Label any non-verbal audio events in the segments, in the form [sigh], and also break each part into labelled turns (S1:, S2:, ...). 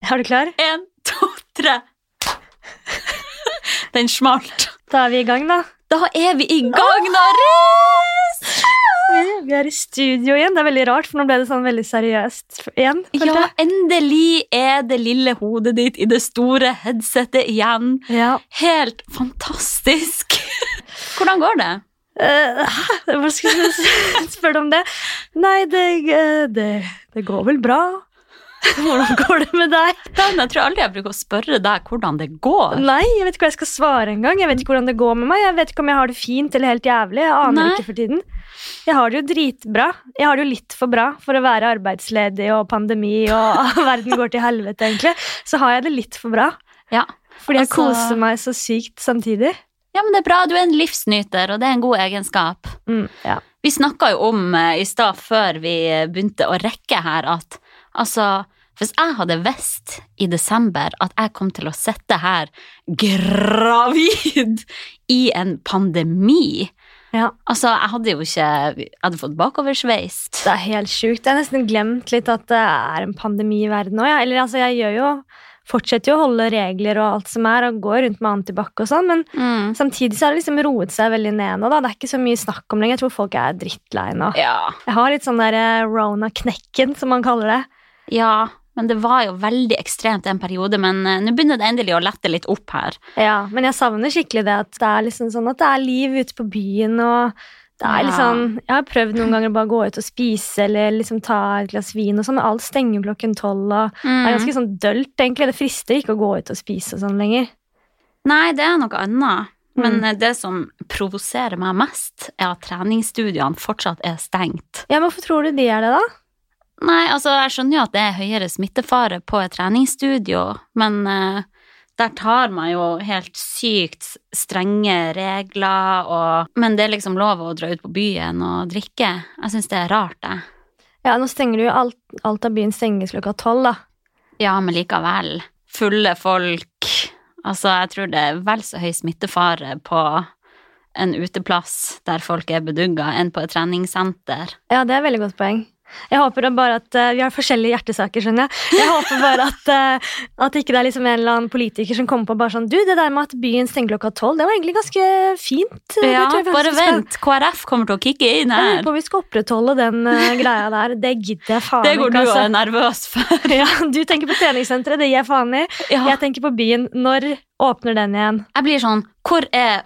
S1: [laughs] Er du klar?
S2: Én, to, tre. Den smalt.
S1: Da er vi i gang, da.
S2: Da er vi i gang, Nares!
S1: Vi er i studio igjen. Det er veldig rart, for nå ble det sånn veldig seriøst f- igjen. følte
S2: Ja, endelig er det lille hodet ditt i det store headsetet igjen.
S1: jeg. ja.
S2: Helt fantastisk! Hvordan går det?
S1: Eh, [laughs] hæ? hva skulle [laughs] jeg s- spørre om det? Nei, det, eh, det, det går vel bra. [laughs] Hvordan går det med deg?
S2: Dan, jeg tror aldri jeg bruker å spørre deg hvordan det går.
S1: Nei, jeg vet ikke hva jeg skal svare engang. Jeg vet ikke hvordan det går med meg. Jeg vet ikke om jeg har det fint eller helt jævlig. Jeg aner
S2: Nei.
S1: ikke for tiden. Jeg har det jo dritbra. Jeg har det jo litt for bra for å være arbeidsledig og pandemi og [laughs] verden går til helvete, egentlig. Så har jeg det litt for bra.
S2: Ja.
S1: Fordi jeg
S2: Altså-
S1: koser meg så sykt samtidig.
S2: ja, men det er bra. Du er en livsnyter, og det er en god egenskap.
S1: Mm, ja.
S2: Vi snakka jo om eh, i stad, før vi eh, begynte å rekke her, at altså Hvis jeg hadde visst i desember at jeg kom til å sitte her gravid i en pandemi
S1: Ja.
S2: Altså, jeg hadde jo ikke Jeg hadde fått bakoversveis.
S1: Det er helt sjukt. Jeg har nesten glemt litt at det er en pandemi i verden òg. Eller altså, jeg gjør jo Fortsetter jo å holde regler og alt som er, og går rundt med antibac og sånn, men
S2: Mm.
S1: samtidig så har det liksom roet seg veldig ned nå, da. Det er ikke så mye snakk om det lenger. Jeg tror folk er drittlei nå.
S2: Ja.
S1: Jeg har litt sånn der eh, Rona-knekken, som man kaller det.
S2: Ja, men det var jo veldig ekstremt en periode, men eh, nå begynner det endelig å lette litt opp her.
S1: Ja, men jeg savner skikkelig det at det er liksom sånn at det er liv ute på byen og det er
S2: Ja.
S1: litt sånn, Jeg har prøvd noen ganger å bare gå ut og spise eller liksom ta et glass vin, og sånn, men alt stenger klokken tolv. og Det er ganske sånn dølt, egentlig. Det frister ikke å gå ut og spise og sånn lenger.
S2: Nei, det er noe annet. Men
S1: Mm.
S2: eh, det som provoserer meg mest, er at treningsstudiene fortsatt er stengt.
S1: Ja, men Hvorfor tror du de er det, da?
S2: Nei, altså, jeg skjønner jo at det er høyere smittefare på et treningsstudio, men eh, der tar man jo helt sykt s- strenge regler, og Men det er liksom lov å dra ut på byen og drikke. Jeg syns det er rart, jeg.
S1: Ja, Nå stenger du jo alt, alt av byen stenges klokka tolv, da.
S2: Ja, men likevel. Fulle folk. Altså, jeg tror det er vel så høy smittefare på en uteplass der folk er bedugga, enn på et treningssenter.
S1: Ja, det er et veldig godt poeng. Jeg håper da bare at eh, Vi har forskjellige hjertesaker, skjønner jeg. Jeg håper bare at, eh, at ikke det er liksom en eller annen politiker som kommer på bare sånn Du, det der med at byen stenger klokka tolv, det var egentlig ganske fint. Det
S2: Ja,
S1: tror jeg faktisk vi
S2: bare
S1: skal-
S2: vent. KrF kommer til å kicke
S1: Jeg
S2: inn
S1: lurer
S2: her.
S1: på om vi skal opprettholde den eh, greia der. Det gidder jeg faen
S2: Det går du
S1: ikke,
S2: og
S1: altså.
S2: er nervøs
S1: [laughs]
S2: for.
S1: Ja, du tenker på treningssenteret, det gir jeg faen i.
S2: Ja.
S1: Jeg tenker på byen. Når åpner den igjen?
S2: [laughs] Jeg blir sånn Hvor er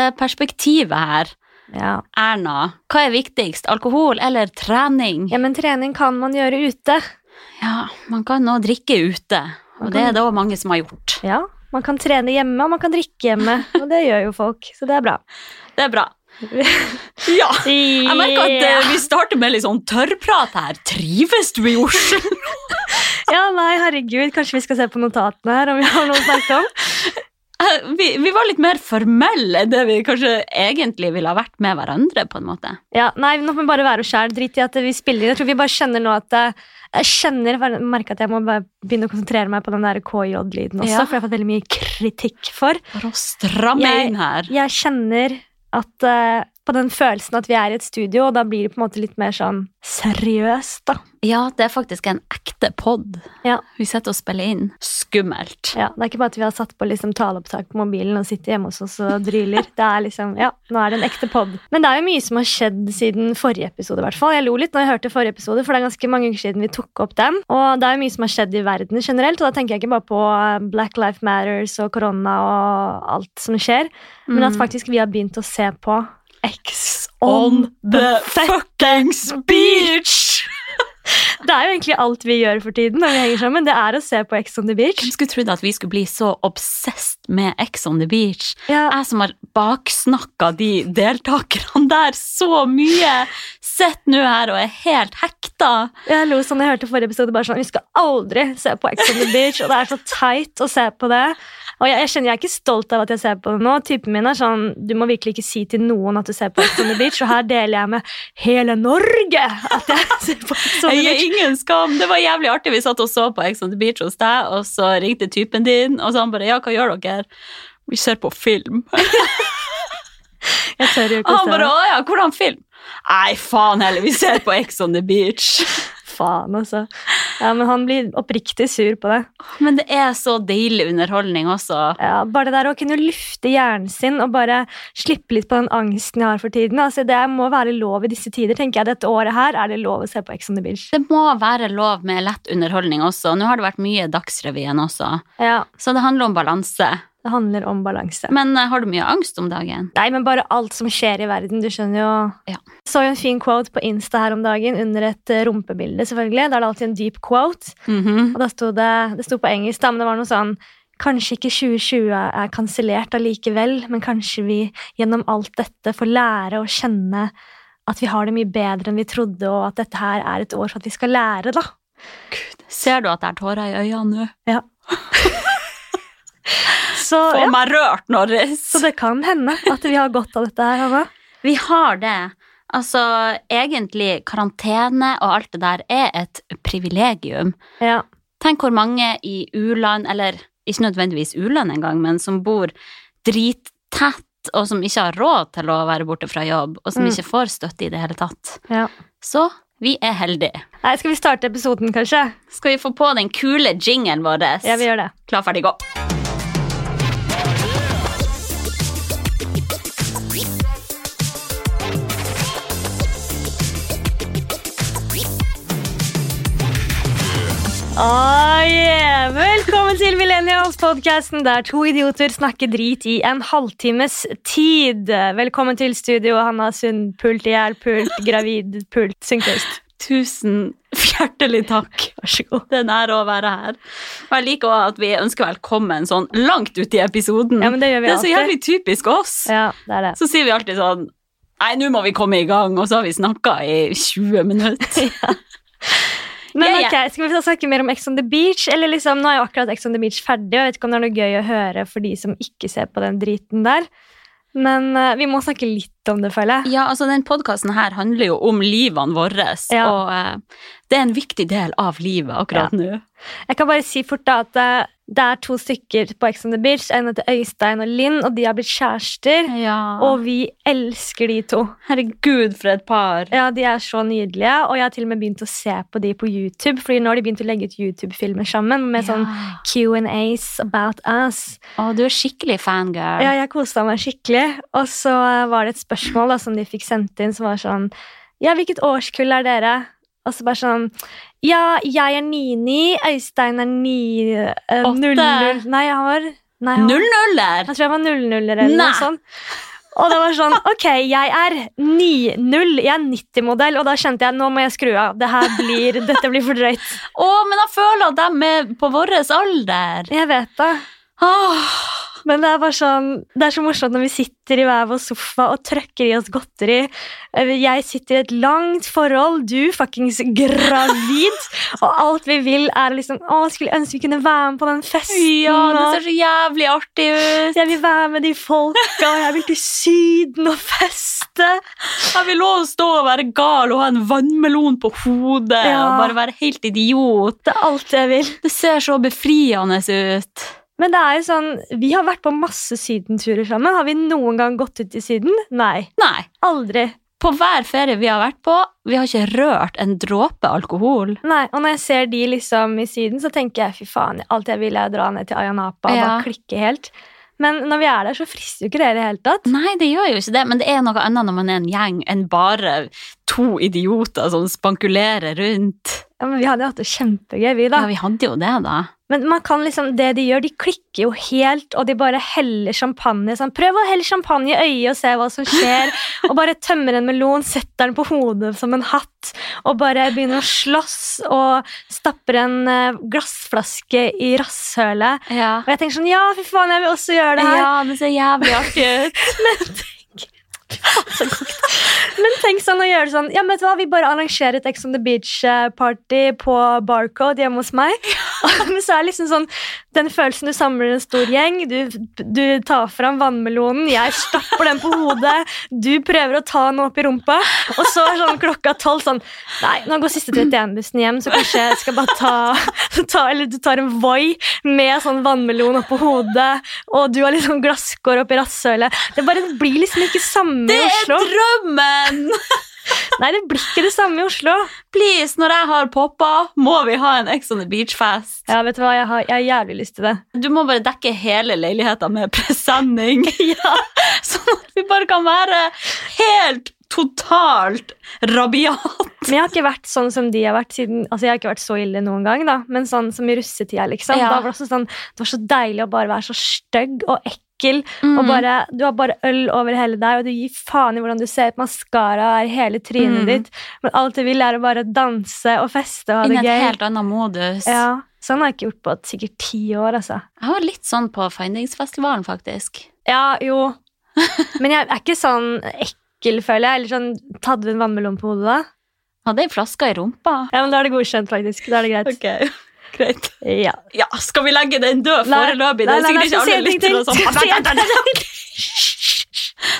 S2: folkehelseperspektivet her?
S1: Ja.
S2: Erna, hva er viktigst? Alkohol eller trening?
S1: ja, men trening kan man gjøre ute.
S2: Ja, man kan nå drikke ute,
S1: Man
S2: og det
S1: kan-
S2: er det òg mange som har gjort.
S1: Ja, man kan trene hjemme, og man kan drikke hjemme. Og det gjør jo folk, så det er bra.
S2: Det er [laughs] bra. Ja. Jeg merker at eh, vi starter med litt sånn tørrprat her. Trives du i Oslo? [laughs]
S1: Ja, nei, herregud, kanskje vi skal se på notatene her om vi har noe å snakke om.
S2: Eh, Vi, vi var litt mer formelle enn det vi kanskje egentlig ville ha vært med hverandre. på en måte.
S1: Ja, nei, nå må vi bare være oss sjæl. Drit i at vi spiller. Jeg tror vi bare skjønner nå at eh, Jeg kjenner, jeg merker at jeg må bare begynne å konsentrere meg på den der KJ-lyden også,
S2: Ja.
S1: for jeg har fått veldig mye kritikk for.
S2: For å stramme
S1: Jeg-
S2: inn her.
S1: Jeg kjenner at eh, på den følelsen at vi er i et studio, og da blir det på en måte litt mer sånn seriøst, da.
S2: Ja, det er faktisk en ekte pod.
S1: Ja.
S2: Vi sitter og spiller inn. Skummelt.
S1: Ja, Det er ikke bare at vi har satt på liksom taleopptak på mobilen og sitter hjemme hos oss og dryler. Det er liksom, ja, Nå er det en ekte pod. Men det er jo mye som har skjedd siden forrige episode. i hvert fall. Jeg lo litt når jeg hørte forrige episode, for det er ganske mange uker siden vi tok opp den. Og det er jo mye som har skjedd i verden generelt, og da tenker jeg ikke bare på eh, Black Life Matters og korona og alt som skjer, men at
S2: Mm.
S1: faktisk vi har begynt å se på X on
S2: On the fuckings beach!
S1: Det er jo egentlig alt vi gjør for tiden når vi henger sammen. Det er å se på X on the beach.
S2: Hvem skulle trodd at vi skulle bli så obsessed med Ex on the beach?
S1: Ja,
S2: jeg som har baksnakka de deltakerne der så mye, sitter nå her og er helt hekta.
S1: Jeg lo sånn jeg hørte forrige episode, bare sånn Vi skal aldri se på Ex on the Beach, og det er så teit å se på det. Og jeg, jeg kjenner jeg er ikke stolt av at jeg ser på det nå. Typen min er sånn Du må virkelig ikke si til noen at du ser på Ex on the Beach, og her deler jeg med hele Norge at jeg [laughs] ser på Ex on
S2: Jeg
S1: the
S2: gir
S1: Beach.
S2: ingen skam. Det var jævlig artig. Vi satt og så på Ex on the Beach hos deg, og så ringte typen din, og så han bare Ja, hva gjør dere? Vi ser på film. [laughs]
S1: Jeg tør jo
S2: Og
S1: ikke å
S2: han
S1: se
S2: bare
S1: det.
S2: Å ja, hvordan film? Nei, faen heller, vi ser på Ex on the Beach.
S1: faen, altså. Ja, men han blir oppriktig sur på det.
S2: [laughs] Men det er så deilig underholdning også.
S1: Ja, bare det der å kunne lufte hjernen sin og bare slippe litt på den angsten jeg har for tiden. Altså, det må være lov i disse tider, tenker jeg. Dette året her er det lov å se på Ex on the Beach.
S2: Det må være lov med lett underholdning også. Nå har det vært mye Dagsrevyen også,
S1: Ja,
S2: så det handler om balanse.
S1: det handler om balanse.
S2: Men eh, har du mye angst om dagen?
S1: Nei, men bare alt som skjer i verden, du skjønner jo.
S2: Ja.
S1: Så jo en fin quote på Insta her om dagen, under et eh, rumpebilde, selvfølgelig. Da er det alltid en deep quote.
S2: Mhm.
S1: Og da sto det, det sto på engelsk, da, men det var noe sånn Kanskje ikke 2020 er kansellert allikevel, men kanskje vi gjennom alt dette får lære å kjenne at vi har det mye bedre enn vi trodde, og at dette her er et år for at vi skal lære, da.
S2: Ser du at jeg har tårer i øynene nå?
S1: [laughs] Så,
S2: Få
S1: ja,
S2: meg rørt, Norris!
S1: så det kan hende at vi har godt av dette her, Hanna.
S2: Vi har det. Altså, egentlig, karantene og alt det der er et privilegium.
S1: Ja,
S2: Tenk hvor mange i u-land, eller ikke nødvendigvis u-land engang, men som bor drittett, og som ikke har råd til å være borte fra jobb, og som
S1: Mm.
S2: ikke får støtte i det hele tatt.
S1: ja.
S2: Så vi er heldige.
S1: Nei, skal vi starte episoden, kanskje?
S2: Skal vi få på den kule jingen vår?
S1: Ja, vi gjør det.
S2: Klar, ferdig, gå.
S1: Ah, yeah. Velkommen til Millennials-podkasten, der to idioter snakker drit i en halvtimes tid. Velkommen til studio, Hanna Sund. Pult i hjel, pult, gravid, pult, synkøst.
S2: Tusen hjertelig takk.
S1: Vær så
S2: [laughs]
S1: god.
S2: Det er en ære å være her. Og jeg liker også at vi ønsker velkommen sånn langt ut i episoden.
S1: Ja, men det gjør vi
S2: det er så
S1: alltid.
S2: jævlig typisk oss.
S1: Ja, det er det.
S2: Så sier vi alltid sånn Nei, nå må vi komme i gang, og så har vi snakka i 20
S1: [laughs]
S2: minutter.
S1: Men
S2: Ja, ja.
S1: ok, Skal vi snakke mer om Ex on the Beach? Eller liksom, Nå er jo akkurat Ex on the Beach ferdig, og jeg vet ikke om det er noe gøy å høre for de som ikke ser på den driten der. Men eh, vi må snakke litt om det, føler jeg.
S2: Ja, altså Den podkasten her handler jo om livene våre,
S1: Ja.
S2: og eh, det er en viktig del av livet akkurat nå.
S1: Jeg kan bare si fort da at eh, det er to stykker på Ex on the Beach. En heter Øystein og Linn, og de har blitt kjærester.
S2: Ja. Og
S1: Og vi elsker de to.
S2: herregud, for et par.
S1: Ja, De er så nydelige, og jeg har til og med begynt å se på de på YouTube. Fordi nå har de begynt å legge ut YouTube-filmer sammen med sånn
S2: Ja.
S1: Q&As about us.
S2: Å, du er skikkelig fangirl.
S1: Ja, jeg kosa meg skikkelig. Og så eh, var det et spørsmål da, som de fikk sendt inn, som var sånn Ja, hvilket årskull er dere? Og så bare sånn Ja, jeg er 99, Øystein er 9 eh,
S2: Åtte.
S1: 00 Nei, jeg var Nei, jeg var-
S2: Null nuller!
S1: Jeg tror jeg var 00-er eller
S2: Nei.
S1: noe sånt. Og det var
S2: [laughs]
S1: sånn Ok, jeg er 90, jeg er 90-modell, og da kjente jeg nå må jeg skru av. Det her blir, dette blir for drøyt.
S2: Å, men jeg føler at de er på vår alder.
S1: Jeg vet det.
S2: Åh.
S1: Men det er bare sånn, det er så morsomt når vi sitter i hver vår sofa og trøkker i oss godteri. Eh, Jeg sitter i et langt forhold, du fuckings gravid. Og alt vi vil, er liksom Å, skulle ønske vi kunne være med på den festen.
S2: Ja, det
S1: og
S2: ser så jævlig artig ut.
S1: jeg vil være med de folka, og jeg vil til Syden og feste.
S2: Jeg vil også stå og være gal og ha en vannmelon på hodet
S1: Ja.
S2: og bare være helt idiot.
S1: Det er alt jeg vil.
S2: Det ser så befriende ut.
S1: Men det er jo sånn, vi har vært på masse sydenturer sammen. Har vi noen gang gått ut i Syden? Nei.
S2: Nei,
S1: Aldri.
S2: på hver ferie vi har vært på, vi har ikke rørt en dråpe alkohol.
S1: Nei, Og når jeg ser de liksom i Syden, så tenker jeg fy faen, alt jeg vil er å dra ned til Ayanapa og
S2: Ja.
S1: bare klikke helt. Men når vi er der, så frister jo ikke det i det hele tatt.
S2: Nei, det gjør jo ikke det, men det er noe annet når man er en gjeng enn bare to idioter som spankulerer rundt.
S1: Ja, men Vi hadde jo hatt det kjempegøy, vi, da.
S2: Ja, vi hadde jo det, da.
S1: Men man kan liksom, det de gjør, de klikker jo helt, og de bare heller champagne. Sånn, Prøv å helle champagne i øyet og se hva som skjer. og bare tømmer en melon, setter den på hodet som en hatt, og bare begynner å slåss og stapper en eh, glassflaske i rasshølet.
S2: Ja.
S1: Og jeg tenker sånn Ja, fy faen, jeg vil også gjøre det her.
S2: ja, det ser jævlig artig ut.
S1: Men tenk sånn å gjøre det sånn Ja, men vet du hva, vi bare arrangerer et Ex on the Beach-party på Barcode hjemme hos meg. [laughs] men så er det liksom sånn den følelsen du samler en stor gjeng, du, du tar fram vannmelonen, jeg stapper den på hodet, du prøver å ta den opp i rumpa, og så er sånn klokka tolv sånn Nei, nå går siste 31-bussen hjem, så kanskje jeg skal bare ta, [laughs] ta Eller du tar en Voi med sånn vannmelon oppå hodet, og du har litt sånn glasskår oppi rasshølet. Det bare blir liksom ikke liksom samme
S2: Det
S1: i
S2: er
S1: Oslo.
S2: [laughs] drømmen!
S1: Nei, det blir ikke det samme i Oslo.
S2: Please, når jeg har poppa, må vi ha en Ex on the Beach-fest.
S1: Ja, vet du hva, jeg har, jeg har jævlig lyst til det.
S2: Du må bare dekke hele leiligheta med presenning. [laughs] Sånn at vi bare kan være helt totalt rabiat.
S1: Men jeg har ikke vært sånn som de har vært siden Altså, jeg har ikke vært så ille noen gang, da, men sånn som i russetida, liksom.
S2: Ja.
S1: Da var det også sånn Det var så deilig å bare være så stygg og ekkel,
S2: Mm.
S1: og bare Du har bare øl over hele deg, og du gir faen i hvordan du ser ut. Maskara er hele trynet
S2: Mm.
S1: ditt, men alt du vil, er å bare danse og feste og ha
S2: Inn i
S1: det
S2: et
S1: gøy.
S2: helt annet modus.
S1: Ja. Sånn har jeg ikke gjort på sikkert ti år, altså.
S2: Jeg var litt sånn på Findingsfestivalen, faktisk.
S1: Ja, jo. [laughs] Men jeg er ikke sånn ekkel, føler jeg. Eller sånn Tatt du en vannmelon på hodet, da?
S2: Hadde ei flaske i rumpa.
S1: Ja, men da er det godkjent, faktisk. Da er det greit.
S2: Ok, [laughs] greit.
S1: Ja.
S2: Ja, skal vi legge den død
S1: Nei,
S2: foreløpig?
S1: nei,
S2: Det er
S1: nei, nei,
S2: sikkert ikke
S1: skal
S2: alle
S1: si en ting
S2: lyttere som
S1: til. Skal si en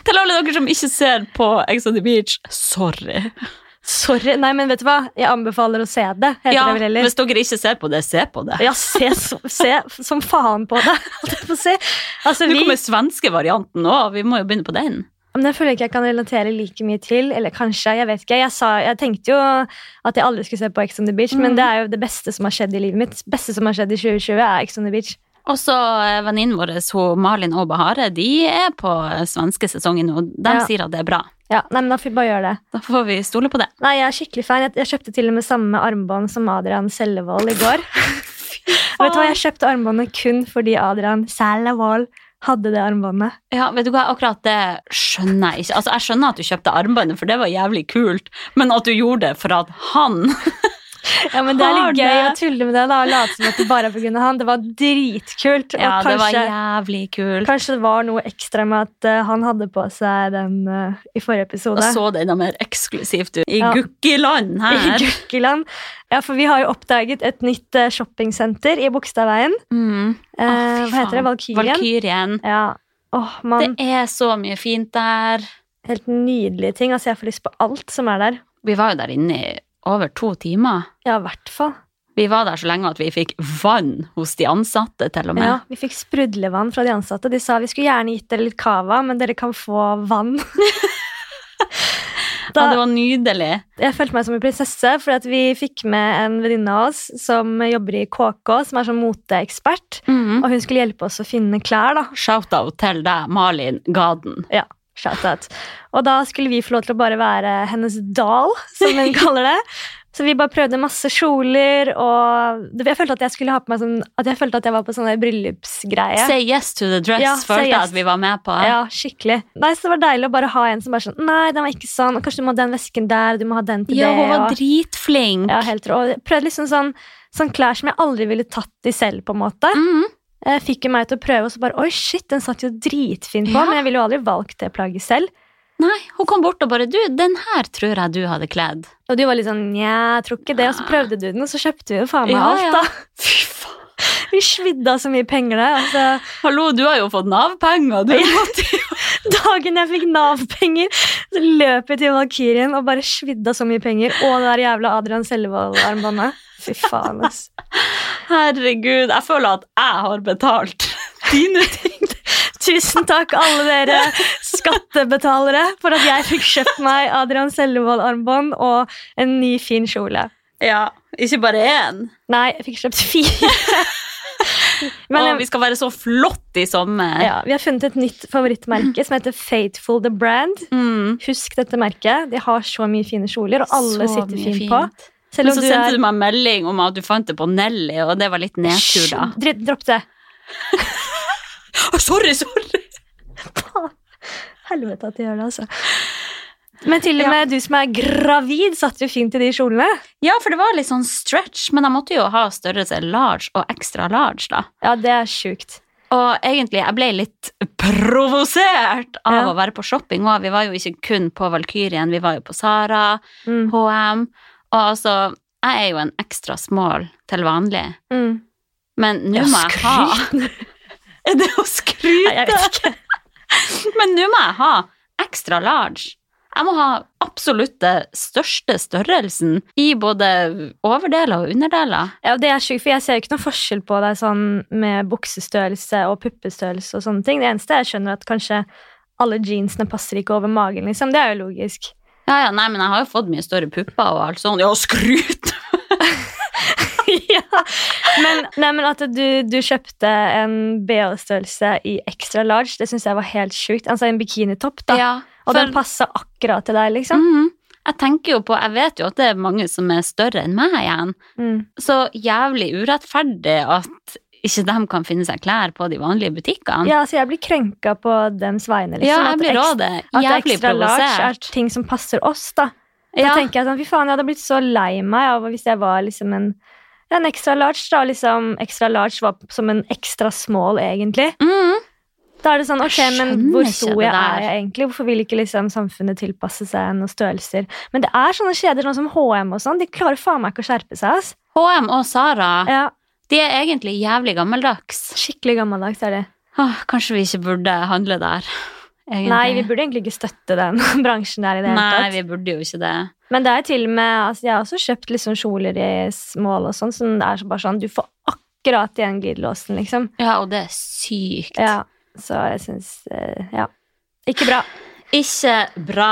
S2: Til alle dere som ikke ser på Ex on the Beach, sorry.
S1: Sorry. Nei, men vet du hva? Jeg anbefaler å se det. Heter
S2: Ja,
S1: det vel heller.
S2: hvis dere ikke ser på det, se på det.
S1: Ja, se, som- se som faen på det. [laughs] Holdt jeg på å si. Altså,
S2: Nå
S1: vi,
S2: kommer svenske varianten òg, vi må jo begynne på den.
S1: men jeg føler ikke jeg kan relatere like mye til. Eller kanskje, jeg vet ikke. Jeg, sa, jeg tenkte jo at jeg aldri skulle se på Ex on the Beach, men
S2: Mhm.
S1: det er jo det beste som har skjedd i livet mitt. Det beste som har skjedd i 2020, er Ex on the Beach.
S2: Og så eh, venninnen vår hun Malin og Bahare, de er på eh, svenske sesongen nå. De
S1: Ja.
S2: sier at det er bra.
S1: Ja, nei, men da får vi bare gjøre det.
S2: Da får vi stole på det.
S1: Nei, jeg er skikkelig fan. Jeg, jeg kjøpte til og med samme armbånd som Adrian Sellevold i går. [laughs] Vet du hva, Jeg kjøpte armbåndet kun fordi Adrian Sellevold hadde det armbåndet.
S2: Ja, vet du hva, akkurat det skjønner jeg ikke. Altså, jeg skjønner at du kjøpte armbåndet, for det var jævlig kult, men at du gjorde det for at han
S1: Ja, men Det er
S2: Har
S1: litt gøy å
S2: det?
S1: tulle med det da, og late som at det bare er pga. han. Det var dritkult.
S2: Ja,
S1: og
S2: det var
S1: kanskje,
S2: jævlig kult.
S1: kanskje det var noe ekstra med at eh, han hadde på seg den eh, i forrige
S2: Og
S1: episode.
S2: så det enda mer eksklusivt ut i
S1: Ja. [laughs]
S2: gukkeland
S1: I
S2: her.
S1: Gurkeland. Ja, for vi har jo oppdaget et nytt eh, shoppingsenter i Bogstadveien.
S2: Mm.
S1: Eh,
S2: Å, fy
S1: hva heter det? Valkyrien?
S2: faen.
S1: Um,
S2: Valkyrien.
S1: Ja. Åh,
S2: Det
S1: mann.
S2: er så mye fint der.
S1: Helt nydelige ting. Altså, jeg får lyst på alt som er der.
S2: Vi var jo der inne i over to timer.
S1: Ja, i hvert fall.
S2: Vi var der så lenge at vi fikk vann hos de ansatte, til og med.
S1: Ja, vi fikk sprudlevann fra de ansatte. De sa vi skulle gjerne gitt dere litt cava, men dere kan få [laughs] vann.
S2: Ja,
S1: da,
S2: det var nydelig.
S1: jeg følte meg som en prinsesse, for at vi fikk med en venninne av oss som jobber i KK, som er sånn moteekspert.
S2: Mm.
S1: Og hun skulle hjelpe oss å finne klær, da.
S2: Shout-out til deg, Malin Gaden.
S1: Shoutout. Og da skulle vi få lov til å bare være hennes dal, som
S2: [laughs]
S1: hun kaller det. Så vi bare prøvde masse kjoler, og det- jeg følte at jeg skulle ha på meg sånn At jeg følte at jeg var på sånn der bryllupsgreie.
S2: Say yes to the dress,
S1: Ja, say
S2: følte jeg
S1: yes.
S2: at vi var med på.
S1: Ja, skikkelig. Nei, så det var deilig å bare ha en som bare sånn Nei, den var ikke sånn. og Kanskje du må ha den vesken der, du må ha den til
S2: Ja,
S1: det.
S2: hun var
S1: og-
S2: dritflink.
S1: ja, helt rå. Og jeg Prøvde liksom sånn, sånn klær som jeg aldri ville tatt i selv, på en måte.
S2: Mm.
S1: Eh, Fikk jo meg til å prøve, og så bare Oi, shit, den satt jo dritfint på,
S2: Ja.
S1: men jeg ville jo aldri valgt det plagget selv.
S2: Nei, hun kom bort og bare Du, den her tror jeg du hadde kledd.
S1: Og du var litt sånn Nja, jeg tror ikke det. Og så prøvde du den, og så kjøpte vi jo faen meg
S2: Ja,
S1: alt,
S2: ja.
S1: da.
S2: Fy faen.
S1: Vi svidde av så mye penger der. Altså,
S2: Hallo, du har jo fått Nav-penger, du.
S1: dagen jeg fikk Nav-penger, så løp jeg til Valkyrien og bare svidde av så mye penger. Og det der jævla Adrian Selvold-armbåndet. Fy faen, ass.
S2: Herregud, jeg føler at jeg har betalt dine
S1: [laughs]
S2: ting.
S1: Tusen takk, alle dere skattebetalere, for at jeg fikk kjøpt meg Adrian Selvold-armbånd og en ny, fin kjole.
S2: Ja, ikke bare én.
S1: Nei, jeg fikk kjøpt fire.
S2: [laughs]
S1: Men
S2: og vi skal være så flott i sommer.
S1: ja, vi har funnet et nytt favorittmerke som heter Fateful The Brand.
S2: Mm.
S1: Husk dette merket. De har så mye fine kjoler, og alle
S2: Så
S1: sitter
S2: mye
S1: fint,
S2: fint.
S1: på.
S2: Men
S1: Selv om
S2: så
S1: du
S2: sendte
S1: er
S2: du meg en melding om at du fant det på Nelly, og det var litt nedtur,
S1: [laughs]
S2: da.
S1: Hysj, dri- Dropp det.
S2: Å, sorry, sorry!
S1: Helvete at de gjør det, altså. Men til og
S2: Ja.
S1: med du som er gravid, satt jo fint i de kjolene.
S2: Ja, for det var litt sånn stretch, men jeg måtte jo ha størrelse large og ekstra large, da.
S1: Ja, det er sjukt.
S2: Og egentlig, jeg ble litt provosert av
S1: Ja.
S2: å være på shopping òg. Vi var jo ikke kun på Valkyrien, vi var jo på Sara,
S1: Mm.
S2: HM. Og altså, jeg er jo en ekstra small til vanlig,
S1: Mm.
S2: men nå
S1: Ja,
S2: må jeg ha [laughs] Er det å skryte?
S1: Nei, jeg vet ikke.
S2: Men nå må jeg ha ekstra large. Jeg må ha absolutt det største størrelsen i både overdeler og underdeler.
S1: Ja, det er sjukt, for jeg ser jo ikke noen forskjell på deg sånn med buksestørrelse og puppestørrelse og sånne ting. Det eneste jeg skjønner, er at kanskje alle jeansene passer ikke over magen, liksom. Det er jo logisk.
S2: Ja, ja, nei, men jeg har jo fått mye større pupper og alt sånt. Ja, skryt!
S1: ja. Men, nei, men at du, du kjøpte en BH-størrelse i extra large, det syns jeg var helt sjukt. Altså en bikinitopp, da.
S2: Ja,
S1: Og
S2: for-
S1: den passa akkurat til deg, liksom.
S2: Mhm. Jeg tenker jo på, jeg vet jo at det er mange som er større enn meg igjen.
S1: Mm.
S2: Så jævlig urettferdig at ikke de kan finne seg klær på de vanlige butikkene.
S1: Mm. Ja, så jeg blir krenka på dems vegne, liksom.
S2: Ja, jeg
S1: At
S2: blir
S1: eks-
S2: rå det.
S1: At
S2: Jævlig
S1: extra large er
S2: provosert.
S1: ting som passer oss, da. Da
S2: Ja.
S1: tenker jeg sånn, fy faen, jeg hadde blitt så lei meg av hvis jeg var liksom en, ja, en extra large, da. Liksom, extra large var som en extra small, egentlig.
S2: Mhm.
S1: Da er det sånn, ok,
S2: Jeg
S1: men hvor
S2: skjønner
S1: stor
S2: ikke det
S1: jeg er
S2: der.
S1: jeg egentlig? Hvorfor vil ikke liksom samfunnet tilpasse seg noen størrelser? Men det er sånne kjeder sånn som H&M og sånn, de klarer faen meg ikke å skjerpe seg, ass.
S2: H&M og Sara,
S1: Ja,
S2: de er egentlig jævlig gammeldags.
S1: skikkelig gammeldags er det.
S2: Åh, kanskje vi ikke burde handle der, [laughs] egentlig.
S1: Nei, vi burde egentlig ikke støtte den [laughs] bransjen der i det hele
S2: Nei,
S1: tatt.
S2: vi burde jo ikke det.
S1: Men det er til og med, altså jeg har også kjøpt liksom kjoler i smål og sånn, som det er så bare sånn, du får akkurat igjen glidelåsen, liksom.
S2: Ja, og det er sykt.
S1: Ja, så jeg synes, eh, ja. Ikke bra.
S2: Ikke bra.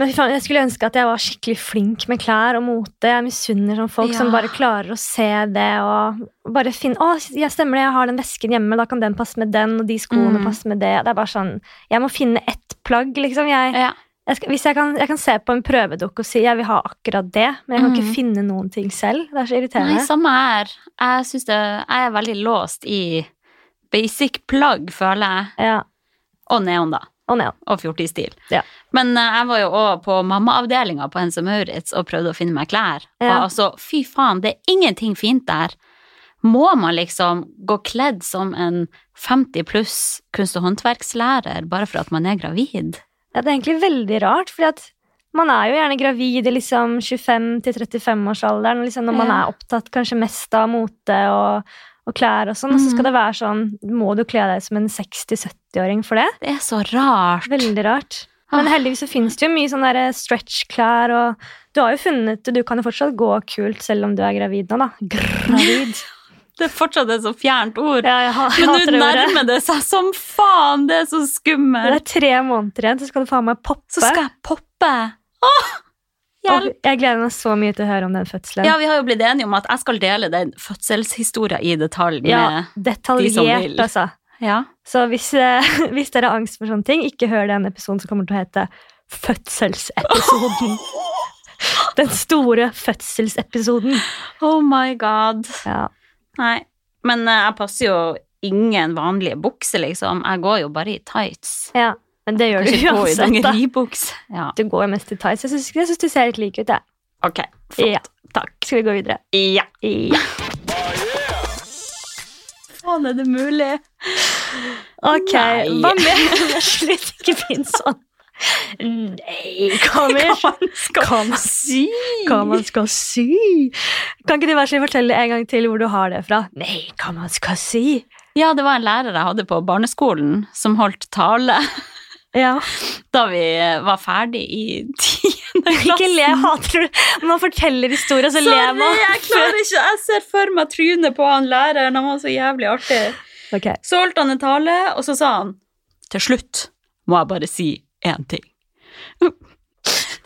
S1: Men fy faen, jeg skulle ønske at jeg var skikkelig flink med klær og mote. Jeg misunner sånn folk
S2: Ja.
S1: som bare klarer å se det og bare finne Å, jeg stemmer det, jeg har den vesken hjemme, da kan den passe med den, og de skoene
S2: Mm.
S1: passer med det. Det er bare sånn Jeg må finne ett plagg, liksom. Jeg,
S2: Ja.
S1: jeg, skal, hvis jeg, kan, jeg kan se på en prøvedokk og si jeg vil ha akkurat det, men jeg kan
S2: Mm.
S1: ikke finne noen ting selv. Det er så irriterende.
S2: Nei, samme her. Jeg, synes det, jeg er veldig låst i basic plagg, føler jeg.
S1: Ja.
S2: Og neon, da.
S1: Og neon.
S2: Og 40-stil.
S1: Ja.
S2: Men eh, jeg var jo òg på mammaavdelinga på Hense Maurits og prøvde å finne meg klær.
S1: Ja.
S2: Og altså, fy faen, det er ingenting fint der. Må man liksom gå kledd som en 50 pluss kunst- og håndverkslærer bare for at man er gravid?
S1: Ja, det er egentlig veldig rart, fordi at man er jo gjerne gravid i liksom 25-35-årsalderen, liksom når man
S2: Ja.
S1: er opptatt kanskje mest av mote og, og klær og sånn, og så
S2: Mhm.
S1: skal det være sånn, må du kle deg som en 60-70-åring for det?
S2: Det er så rart.
S1: Veldig rart. Men
S2: Ah.
S1: heldigvis så finnes det jo mye sånne der stretch-klær, og du har jo funnet, du kan jo fortsatt gå kult selv om du er gravid nå da. Gravid.
S2: Det er fortsatt et så fjernt
S1: [laughs]
S2: ord.
S1: Ja, jeg ha-
S2: Men
S1: hater
S2: nå
S1: det ordet.
S2: nærmer det seg som faen! Det er så
S1: Det
S2: skummelt.
S1: er tre måneder igjen, så skal du faen meg poppe.
S2: Så skal jeg poppe. Åh,
S1: Og
S2: hjelp!
S1: jeg gleder meg så mye til å høre om den fødselen.
S2: Ja, vi har jo blitt enige om at jeg skal dele den fødselshistorien i detalj med
S1: Ja, detaljert,
S2: vil.
S1: altså.
S2: Ja.
S1: Så hvis, eh, [laughs] hvis dere har angst for sånne ting, ikke hør den episoden som kommer til å hete Fødselsepisoden. [laughs] Den store fødselsepisoden.
S2: Oh my god.
S1: Ja.
S2: Nei. Men eh, jeg passer jo ingen vanlige bukser, liksom. Jeg går jo bare i tights.
S1: ja. Men det gjør
S2: Kanskje
S1: du
S2: gå i
S1: uansett, da.
S2: dongeribukse. Ja.
S1: Du går jo mest i tights. Jeg syns- Jeg syns du ser helt lik ut, jeg.
S2: Ok, flott.
S1: Ja.
S2: Takk.
S1: Skal vi gå videre?
S2: Ja.
S1: Ja.
S2: Faen, er det mulig?
S1: Ok.
S2: Nei. [laughs]
S1: Hva med Slutt, ikke sånn. finn sånn. Nei,
S2: Hva
S1: Kammer.
S2: man skal
S1: Hva man-
S2: si?
S1: Hva [laughs] man skal si. Kan ikke du vær så snill fortelle en gang til hvor du har det fra? Nei, hva man skal si.
S2: Ja, det var en lærer jeg hadde på barneskolen som holdt tale [laughs]
S1: Ja.
S2: da vi eh, var ferdig i tiende klasse.
S1: Ikke le, jeg hater det. Man forteller historier, så ler
S2: Sorry,
S1: man.
S2: jeg klarer ikke. Jeg ser for meg trynet på han læreren. Han var så jævlig artig.
S1: Ok.
S2: Så holdt han en tale, og så sa han Til slutt må jeg bare si én ting. [laughs]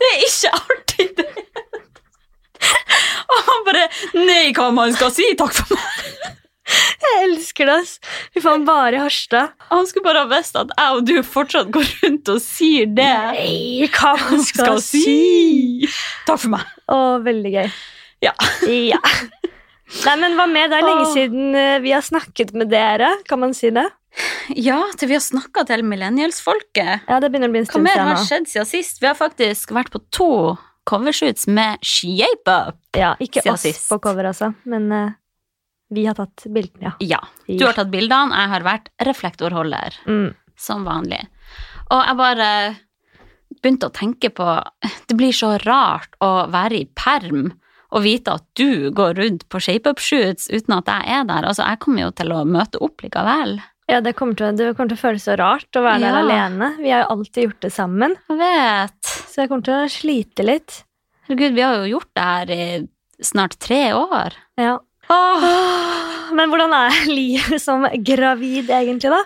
S2: Det er ikke artig, det. Og han bare Nei, hva man skal si? Takk for meg.
S1: Jeg elsker det, ass. Fy faen, bare i Harstad.
S2: Han skulle bare ha visst at jeg og du fortsatt går rundt og sier det.
S1: Nei, hva man skal, si.
S2: Takk for meg.
S1: Å, veldig gøy.
S2: Ja.
S1: Ja. Nei, men hva med? Det er lenge
S2: Åh.
S1: siden eh, vi har snakket med dere, kan man si det?
S2: Ja, til vi har snakka til millennialsfolket.
S1: Ja, det begynner å bli en
S2: Hva
S1: stund
S2: mer
S1: siden
S2: har
S1: nå.
S2: skjedd siden sist? Vi har faktisk vært på to covershoots med Shape Up.
S1: Ja, ikke
S2: siden
S1: oss
S2: sist?
S1: på cover, altså, men eh, vi har tatt bildene, ja.
S2: Ja, du har tatt bildene, jeg har vært reflektorholder,
S1: Mm.
S2: som vanlig. Og jeg bare begynte å tenke på Det blir så rart å være i perm og vite at du går rundt på Shape Up-shoots uten at jeg er der. Altså, jeg kommer jo til å møte opp likevel.
S1: Ja, det kommer, til, det kommer til å føles så rart å være der
S2: Ja.
S1: alene. Vi har jo alltid gjort det sammen,
S2: Jeg vet.
S1: så jeg kommer til å slite litt.
S2: Herregud, vi har jo gjort det her i snart tre år.
S1: Ja.
S2: Åh.
S1: Men hvordan er [laughs] livet som gravid egentlig, da?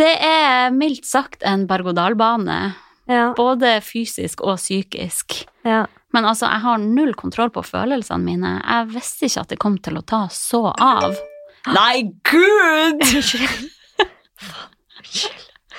S2: Det er mildt sagt en berg-og-dal-bane
S1: Ja,
S2: Både fysisk og psykisk.
S1: ja.
S2: Men altså, jeg har null kontroll på følelsene mine. Jeg visste ikke at det kom til å ta så av. Nei, gud!
S1: Unnskyld.
S2: [laughs]
S1: Faen, unnskyld.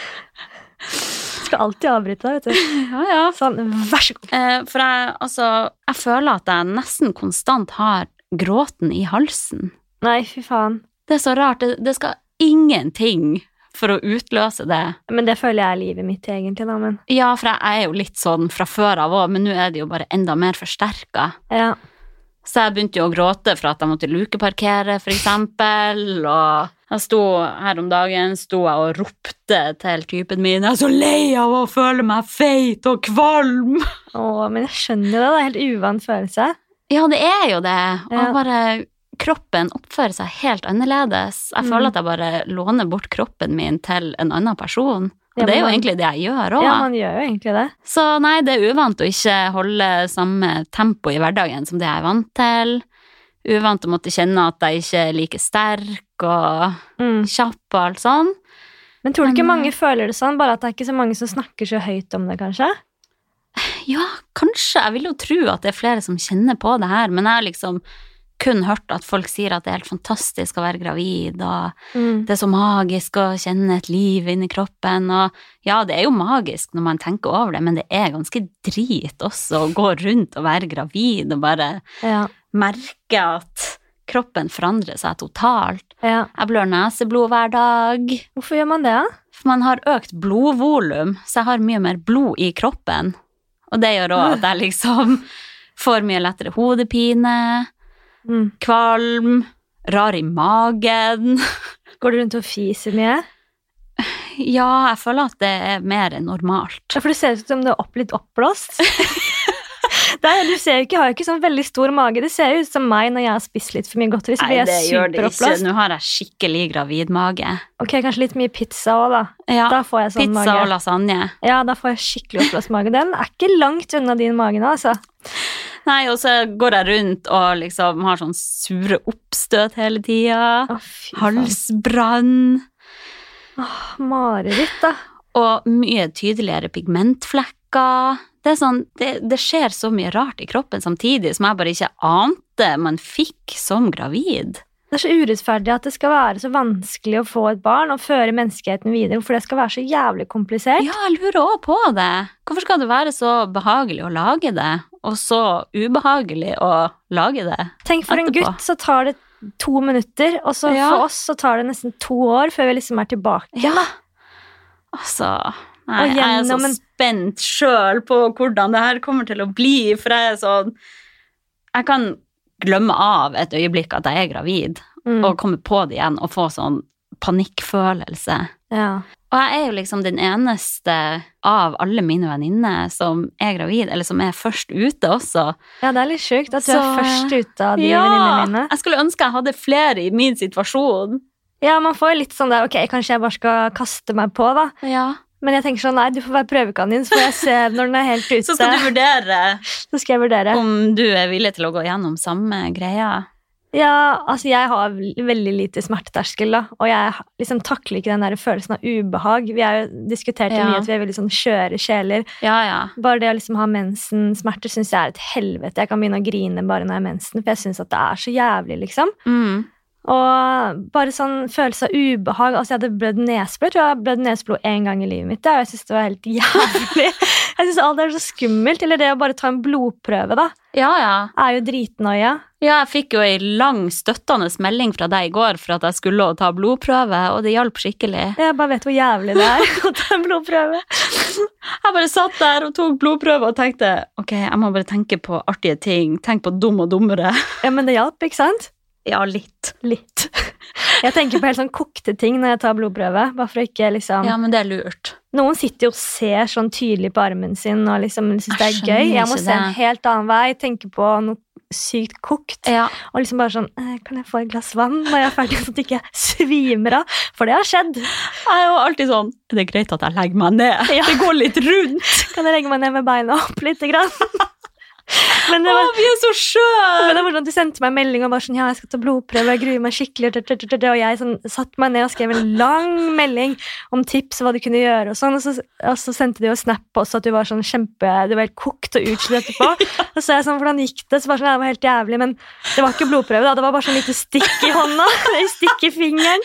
S1: Skal alltid avbryte deg, vet du.
S2: Ja, ja.
S1: Sånn, vær så god.
S2: Eh, For jeg, altså, jeg føler at jeg nesten konstant har gråten i halsen.
S1: Nei, fy faen.
S2: Det er så rart. Det, det skal ingenting for å utløse det.
S1: Men det føler jeg er livet mitt, egentlig, da, men
S2: Ja, for jeg er jo litt sånn fra før av òg, men nå er det jo bare enda mer forsterka.
S1: ja.
S2: Så jeg begynte jo å gråte for at jeg måtte lukeparkere, for eksempel. Og jeg sto her om dagen sto jeg og ropte til typen min 'Jeg er så lei av å føle meg feit og kvalm'.
S1: Åh, men jeg skjønner jo det. Det er helt uvan følelse.
S2: Ja, det er jo det.
S1: Ja.
S2: Og bare kroppen oppfører seg helt annerledes. Jeg
S1: Mm.
S2: føler at jeg bare låner bort kroppen min til en annen person. Og
S1: Ja,
S2: det er
S1: men
S2: jo
S1: man-
S2: egentlig det jeg gjør òg.
S1: Ja, man gjør jo egentlig det.
S2: Så nei, det er uvant å ikke holde samme tempo i hverdagen som det jeg er vant til. Uvant å måtte kjenne at jeg ikke er like sterk og
S1: Mm.
S2: kjapp og alt sånn.
S1: Men tror du ikke
S2: Men,
S1: mange føler det sånn, bare at det er ikke så mange som snakker så høyt om det, kanskje?
S2: Ja, kanskje. Jeg vil jo tro at det er flere som kjenner på det her, men jeg har liksom kun hørt at folk sier at det er helt fantastisk å være gravid, og
S1: Mm.
S2: det er så magisk å kjenne et liv inni kroppen, og ja, det er jo magisk når man tenker over det, men det er ganske drit også å gå rundt og være gravid og bare
S1: Ja,
S2: merke at kroppen forandrer seg totalt.
S1: ja.
S2: Jeg blør neseblod hver dag.
S1: Hvorfor gjør man det, da?
S2: For man har økt blodvolum, så jeg har mye mer blod i kroppen. Og det gjør òg at jeg liksom får mye lettere hodepine,
S1: Mm.
S2: kvalm, rar i magen.
S1: Går du rundt og fiser mye?
S2: Ja, jeg føler at det er mer enn normalt.
S1: Ja, for det ser ut som du er opp, litt
S2: [laughs]
S1: oppblåst. Det er, du ser jo ikke, har jo ikke sånn veldig stor mage. Det ser jo ut som meg når jeg har spist litt for mye godteri. Så blir jeg superoppblåst.
S2: Nå har jeg skikkelig gravid mage.
S1: Ok, kanskje litt mye pizza òg, da.
S2: Ja,
S1: Da får jeg sånn
S2: pizza og
S1: mage.
S2: lasagne.
S1: Ja, da får jeg skikkelig oppblåst mage. Den er ikke langt unna din mage nå, altså.
S2: Nei, og så går jeg rundt og liksom har sånn sure oppstøt hele tida.
S1: Å, fy faen.
S2: Halsbrann.
S1: Mareritt, da.
S2: Og mye tydeligere pigmentflekker. Det, er sånn, det, det skjer så mye rart i kroppen samtidig som jeg bare ikke ante man fikk som gravid.
S1: Det er så urettferdig at det skal være så vanskelig å få et barn og føre menneskeheten videre. Hvorfor det skal være så jævlig komplisert.
S2: Ja, jeg lurer òg på det. Hvorfor skal det være så behagelig å lage det, og så ubehagelig å lage det?
S1: Tenk for en
S2: Etterpå.
S1: gutt, så tar det to minutter, og så
S2: Ja.
S1: for oss så tar det nesten to år før vi liksom er tilbake.
S2: Ja. Altså nei,
S1: Og
S2: Jeg er så
S1: gjennom en-
S2: spent sjøl på hvordan det her kommer til å bli, for jeg er sånn Jeg kan glemme av et øyeblikk at jeg er gravid,
S1: Mm.
S2: og komme på det igjen og få sånn panikkfølelse.
S1: Ja.
S2: Og jeg er jo liksom den eneste av alle mine venninner som er gravid, eller som er først ute også.
S1: ja, det er litt sjukt at du
S2: Så-
S1: er først ute av de venninnene mine.
S2: Jeg skulle ønske jeg hadde flere i min situasjon.
S1: Ja, man får jo litt sånn der Ok, kanskje jeg bare skal kaste meg på, da.
S2: Ja.
S1: Men jeg tenker sånn, nei, du får være prøvekanin, så får jeg se når den er helt ute.
S2: [laughs] Så skal du vurdere
S1: så skal jeg vurdere.
S2: om du er villig til å gå gjennom samme greia.
S1: Ja, altså jeg har vel- veldig lite smerteterskel, da. Og jeg ha- liksom takler ikke den der følelsen av ubehag. Vi har jo diskutert det
S2: Ja.
S1: mye at vi er veldig sånn skjøre sjeler.
S2: Ja, ja.
S1: Bare det å liksom ha mensensmerter syns jeg er et helvete. Jeg kan begynne å grine bare når jeg har mensen, for jeg syns at det er så jævlig, liksom.
S2: Mm.
S1: Og bare sånn følelse av ubehag. Altså, jeg hadde blødd nesblod. Jeg tror jeg har blødd nesblod én gang i livet mitt, ja, og jeg syns det var helt [laughs] jævlig. jeg syns alt er så skummelt. Eller det å bare ta en blodprøve, da,
S2: Ja, ja.
S1: er jo dritnoia.
S2: Ja, jeg fikk jo ei lang støttende melding fra deg i går for at jeg skulle ta blodprøve, og det hjalp skikkelig.
S1: Jeg bare vet hvor jævlig det er [laughs] å ta en blodprøve.
S2: Jeg bare satt der og tok blodprøve og tenkte ok, jeg må bare tenke på artige ting. Tenk på dum og dummere.
S1: Ja, men det hjalp, ikke sant?
S2: [laughs] Ja, litt.
S1: Litt. Jeg tenker på helt sånn kokte ting når jeg tar blodprøve. Bare for å ikke liksom...
S2: Ja, men det er lurt.
S1: Noen sitter jo og ser sånn tydelig på armen sin og liksom syns det er
S2: Jeg skjønner
S1: gøy. Jeg må
S2: ikke
S1: se en
S2: det.
S1: helt annen vei, tenke på noe sykt kokt.
S2: Ja.
S1: Og liksom bare sånn eh, Kan jeg få et glass vann når jeg er ferdig, sånn at jeg ikke svimer av? For det har skjedd.
S2: Jeg er jo alltid sånn Det er greit at jeg legger meg ned.
S1: Ja.
S2: [laughs] Det går litt rundt.
S1: Kan jeg legge meg ned med beina opp lite grann? [laughs] Men det var,
S2: Å, vi er så skjønne!
S1: men det var sånn at Du sendte meg en melding og var sånn, ja, jeg skal ta blodprøve. Jeg gruer meg skikkelig. tut, tut, tut, tut, Og jeg sånn, satte meg ned og skrev en lang melding om tips og hva du kunne gjøre. Og sånn, og så, og så sendte de jo snap også at du var sånn kjempe, du var helt kokt og utslitt etterpå. Og så er jeg sånn, hvordan gikk det? Så bare sånn, ja, det var helt jævlig, men det var ikke blodprøve. da, Det var bare sånn lite stikk i hånda. [laughs] et Stikk i fingeren.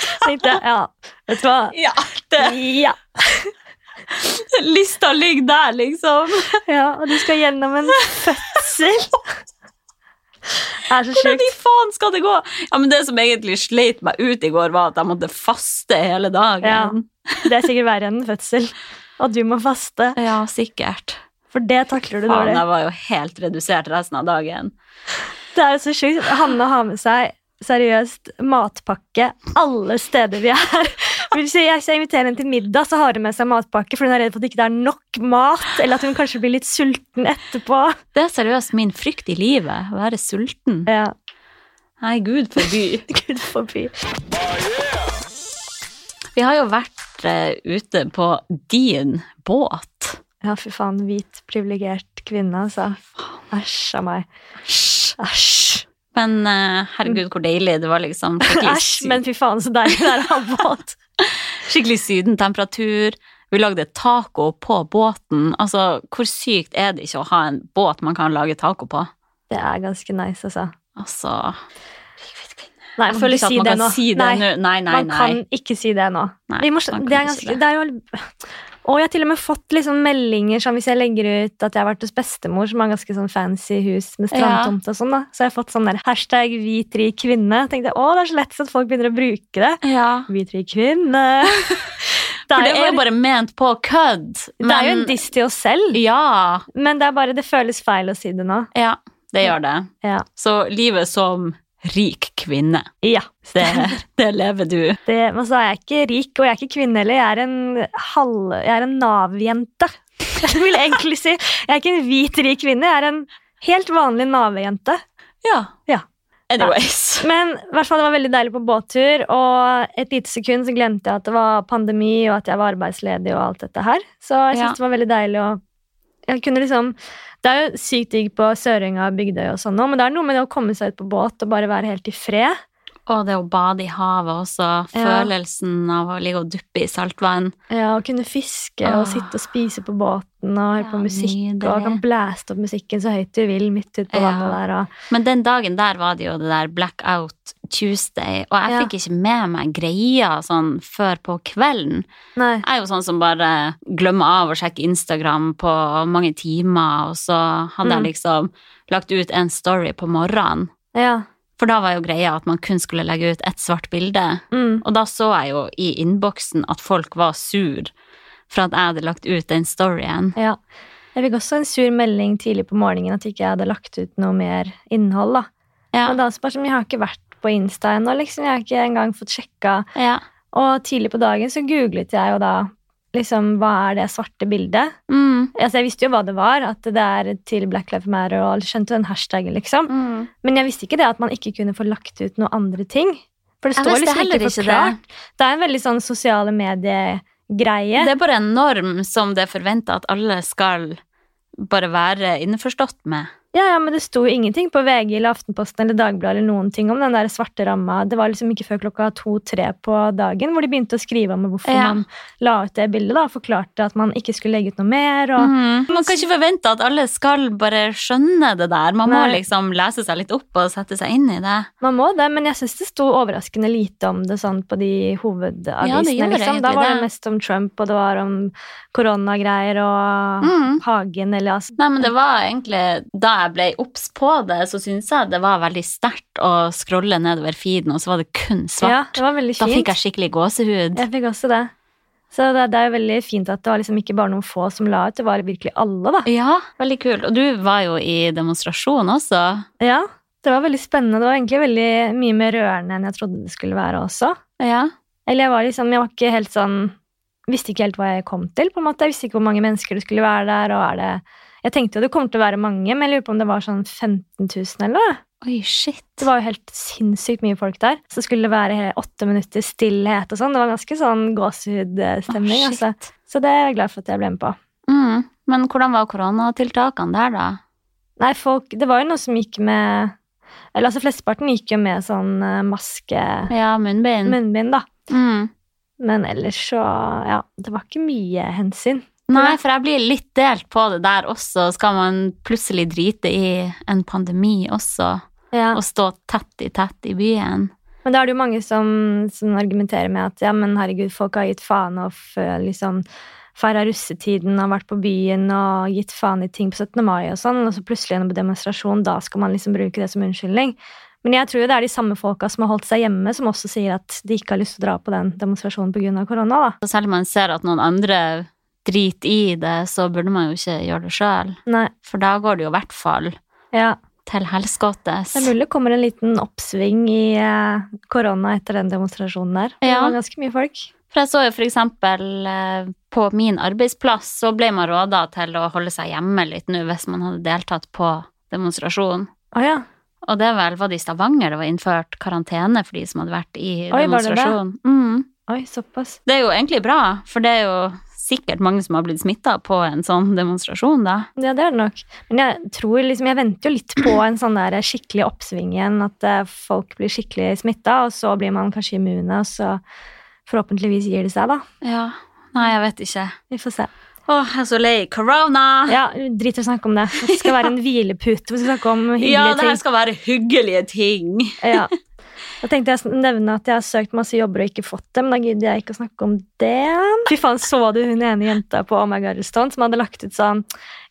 S1: Så tenkte jeg, ja, vet du hva.
S2: Ja, det,
S1: Ja.
S2: [laughs] lista ligger der, liksom.
S1: ja, og du skal gjennom en fødsel. Det er så
S2: Hvordan
S1: sjukt.
S2: i faen skal det gå? Ja, men Det som egentlig sleit meg ut i går, var at jeg måtte faste hele dagen.
S1: Det er sikkert verre enn en fødsel. Og du må faste,
S2: Ja, sikkert.
S1: for det takler du
S2: Faen,
S1: dårlig.
S2: jeg var jo helt redusert resten av dagen.
S1: Det er jo så sjukt. Hanne har med seg seriøst matpakke alle steder vi er. Vil si, jeg skal invitere henne til middag, så har hun med seg matpakke, for hun er redd for at det ikke er nok mat, eller at hun kanskje blir litt sulten etterpå.
S2: Det er seriøst min frykt i livet, å være sulten.
S1: Ja,
S2: Nei, gud forby.
S1: Gud forby.
S2: [laughs] Vi har jo vært eh, ute på din båt.
S1: Ja, fy faen. Hvit, privilegert kvinne, altså. Æsj av meg.
S2: Æsj.
S1: Æsj.
S2: Men eh, herregud, hvor deilig. Det var liksom [laughs] skikkelig,
S1: Æsj,
S2: sy-
S1: men fy faen, så deilig det er å ha båt.
S2: skikkelig sydentemperatur. Vi lagde taco på båten. Altså, hvor sykt er det ikke å ha en båt man kan lage taco på?
S1: Det er ganske nice, altså.
S2: Altså
S1: Nei,
S2: Jeg føler ikke at man kan si det
S1: Nei.
S2: nå. Nei, nei,
S1: man
S2: nei.
S1: kan ikke si det nå.
S2: Nei,
S1: Vi må,
S2: man kan
S1: det er
S2: ikke
S1: ganske,
S2: si det.
S1: det er jo, og jeg har til og med fått liksom meldinger sånn, hvis jeg legger ut at jeg har vært hos bestemor, som har ganske sånn fancy hus med strandtomt og sånn. da. Så jeg har fått sånn der hashtag hvit rik kvinne. Tenkte jeg, å, det er så lett at folk begynner å bruke det.
S2: Ja.
S1: Hvit rik kvinne.
S2: [laughs]
S1: Det er,
S2: For det er jo
S1: bare,
S2: bare ment på kødd.
S1: det er jo en diss til oss selv,
S2: Ja.
S1: men det er bare det føles feil å si det nå.
S2: Ja, det gjør det.
S1: Ja.
S2: Så livet som rik kvinne,
S1: Ja.
S2: det,
S1: [laughs]
S2: det lever du.
S1: Det, men så er jeg ikke rik, og jeg er ikke kvinne heller. Jeg er en, halv- jeg er en Nav-jente. [laughs] Jeg vil egentlig si. Jeg er ikke en hvit, rik kvinne. Jeg er en helt vanlig Nav-jente.
S2: Ja.
S1: Ja.
S2: Anyways.
S1: Men i hvert fall, det var veldig deilig på båttur, og et lite sekund så glemte jeg at det var pandemi, og at jeg var arbeidsledig og alt dette her. Så jeg syntes
S2: Ja.
S1: det var veldig deilig å jeg kunne liksom, Det er jo sykt digg på Sørøya og Bygdøy, og sånn nå, men det er noe med det å komme seg ut på båt og bare være helt i fred.
S2: Og det å bade i havet også. Følelsen av å ligge og duppe i saltvann.
S1: Ja, og kunne fiske og
S2: Åh.
S1: sitte og spise på båten og høre
S2: Ah. Ja,
S1: på musikk. Og
S2: nydelig.
S1: kan blæste opp musikken så høyt du vil midt ute på
S2: Ja.
S1: vannet der. Og,
S2: Men den dagen der var det jo det der blackout Tuesday, og jeg
S1: Ja.
S2: fikk ikke med meg greia sånn før på kvelden.
S1: nei.
S2: Jeg er jo sånn som bare glemmer av å sjekke Instagram på mange timer, og så hadde
S1: Mm.
S2: jeg liksom lagt ut en story på morgenen.
S1: Ja.
S2: For da var jo greia at man kun skulle legge ut ett svart bilde.
S1: Mm.
S2: Og da så jeg jo i innboksen at folk var sur for at jeg hadde lagt ut den storyen.
S1: ja. Jeg fikk også en sur melding tidlig på morgenen at ikke jeg hadde lagt ut noe mer innhold. da.
S2: Ja,
S1: Men da er det bare som, jeg har ikke vært på Insta ennå, liksom. Jeg har ikke engang fått sjekka.
S2: ja.
S1: Og tidlig på dagen så googlet jeg jo da liksom, hva er det svarte bildet?
S2: Mm.
S1: Altså, jeg visste jo hva det var, at det er til Black Lives Matter, og skjønte den hashtagen, liksom.
S2: Mm.
S1: Men jeg visste ikke det at man ikke kunne få lagt ut noen andre ting. For det
S2: Jeg
S1: står
S2: visste
S1: liksom
S2: heller
S1: ikke
S2: ikke
S1: forklart. Det. er en veldig sånn sosiale mediegreie.
S2: Det er bare en norm som det er forventa at alle skal bare være innforstått med.
S1: Ja, ja, men det sto jo ingenting på VG eller Aftenposten eller Dagbladet eller noen ting om den der svarte ramma. Det var liksom ikke før klokka to-tre på dagen hvor de begynte å skrive om hvorfor
S2: Ja.
S1: man la ut det bildet. da, og Forklarte at man ikke skulle legge ut noe mer. og...
S2: Mm. Man kan ikke forvente at alle skal bare skjønne det der. Man må
S1: Nei.
S2: liksom lese seg litt opp og sette seg inn i det.
S1: Man må det, men jeg syns det sto overraskende lite om det sånn på de
S2: Ja, det
S1: hovedavisene.
S2: gjorde
S1: liksom. Da
S2: egentlig
S1: var
S2: det.
S1: det mest om Trump, og det var om koronagreier og
S2: Mm.
S1: Hagen eller altså.
S2: Nei, men det var egentlig Da jeg ble obs på det, så syntes jeg det var veldig sterkt å scrolle nedover feeden, og så var det kun
S1: Ja,
S2: svart.
S1: det var veldig
S2: da
S1: fint.
S2: fikk jeg skikkelig gåsehud.
S1: Jeg fikk også det. Så det, det er jo veldig fint at det var liksom ikke bare noen få som la ut, det var virkelig alle, da.
S2: Ja, veldig kult. Og du var jo i demonstrasjon også.
S1: Ja, det var veldig spennende. Det var egentlig veldig mye mer rørende enn jeg trodde det skulle være også.
S2: Ja.
S1: Eller jeg var liksom, jeg var ikke helt sånn Visste ikke helt hva jeg kom til, på en måte. Jeg visste ikke hvor mange mennesker det skulle være der, og er det Jeg tenkte jo det kom til å være mange, men jeg lurer på om det var sånn 15 000 eller noe.
S2: Oi, shit.
S1: Det var jo helt sinnssykt mye folk der. Så skulle det være he- åtte minutter stillhet og sånn. Det var ganske sånn gåsehudstemning,
S2: Å, shit. Mhm.
S1: altså. Så det er jeg glad for at jeg ble med på.
S2: Mm. Men hvordan var koronatiltakene der, da?
S1: Nei, folk Det var jo noe som gikk med Eller altså, flesteparten gikk jo med sånn eh, maske,
S2: Ja, munnbind.
S1: munnbind, da.
S2: Mm.
S1: Men ellers så Ja, det var ikke mye hensyn.
S2: Nei, for jeg blir litt delt på det der også. Skal man plutselig drite i en pandemi også,
S1: Ja.
S2: og stå tett i tett i byen?
S1: Men da er det jo mange som, som argumenterer med at ja, men herregud, folk har gitt faen og f- liksom feira russetiden og vært på byen og gitt faen i ting på 17. mai og sånn, og så plutselig gjennom demonstrasjon, da skal man liksom bruke det som unnskyldning. Men jeg tror jo det er de samme folka som har holdt seg hjemme, som også sier at de ikke har lyst til å dra på den demonstrasjonen pga. korona, da.
S2: Og selv om man ser at noen andre driter i det, så burde man jo ikke gjøre det sjøl.
S1: Nei,
S2: For da går det jo i hvert fall
S1: ja.
S2: til helskottes.
S1: Det er mulig det kommer en liten oppsving i eh, korona etter den demonstrasjonen der. Det
S2: Ja.
S1: var ganske mye folk.
S2: For jeg så jo for eksempel eh, på min arbeidsplass, så ble man råda til å holde seg hjemme litt nå hvis man hadde deltatt på demonstrasjon.
S1: Å ja.
S2: Og det vel var det i Stavanger det var innført karantene for de som hadde vært i
S1: Oi, var det det?
S2: demonstrasjon. Mm.
S1: Oi, såpass.
S2: Det er jo egentlig bra, for det er jo sikkert mange som har blitt smitta på en sånn demonstrasjon, da.
S1: Ja, det er det nok. Men jeg tror liksom, jeg venter jo litt på en sånn der skikkelig oppsving igjen. At eh, folk blir skikkelig smitta, og så blir man kanskje immune. Og så forhåpentligvis gir det seg, da.
S2: Ja. Nei, jeg vet ikke.
S1: Vi får se.
S2: Å, jeg er så lei corona! Ja,
S1: Ja, Drit i å snakke om det. Det skal være en hvilepute. Vi skal snakke om hyggelige
S2: det her
S1: ting.
S2: skal være hyggelige ting.
S1: Ja. Da tenkte jeg sn- nevne at jeg har søkt masse jobber og ikke fått det, men da gidder jeg ikke å snakke om det. Fy faen, så du hun ene jenta på Oh My God Stone som hadde lagt ut sånn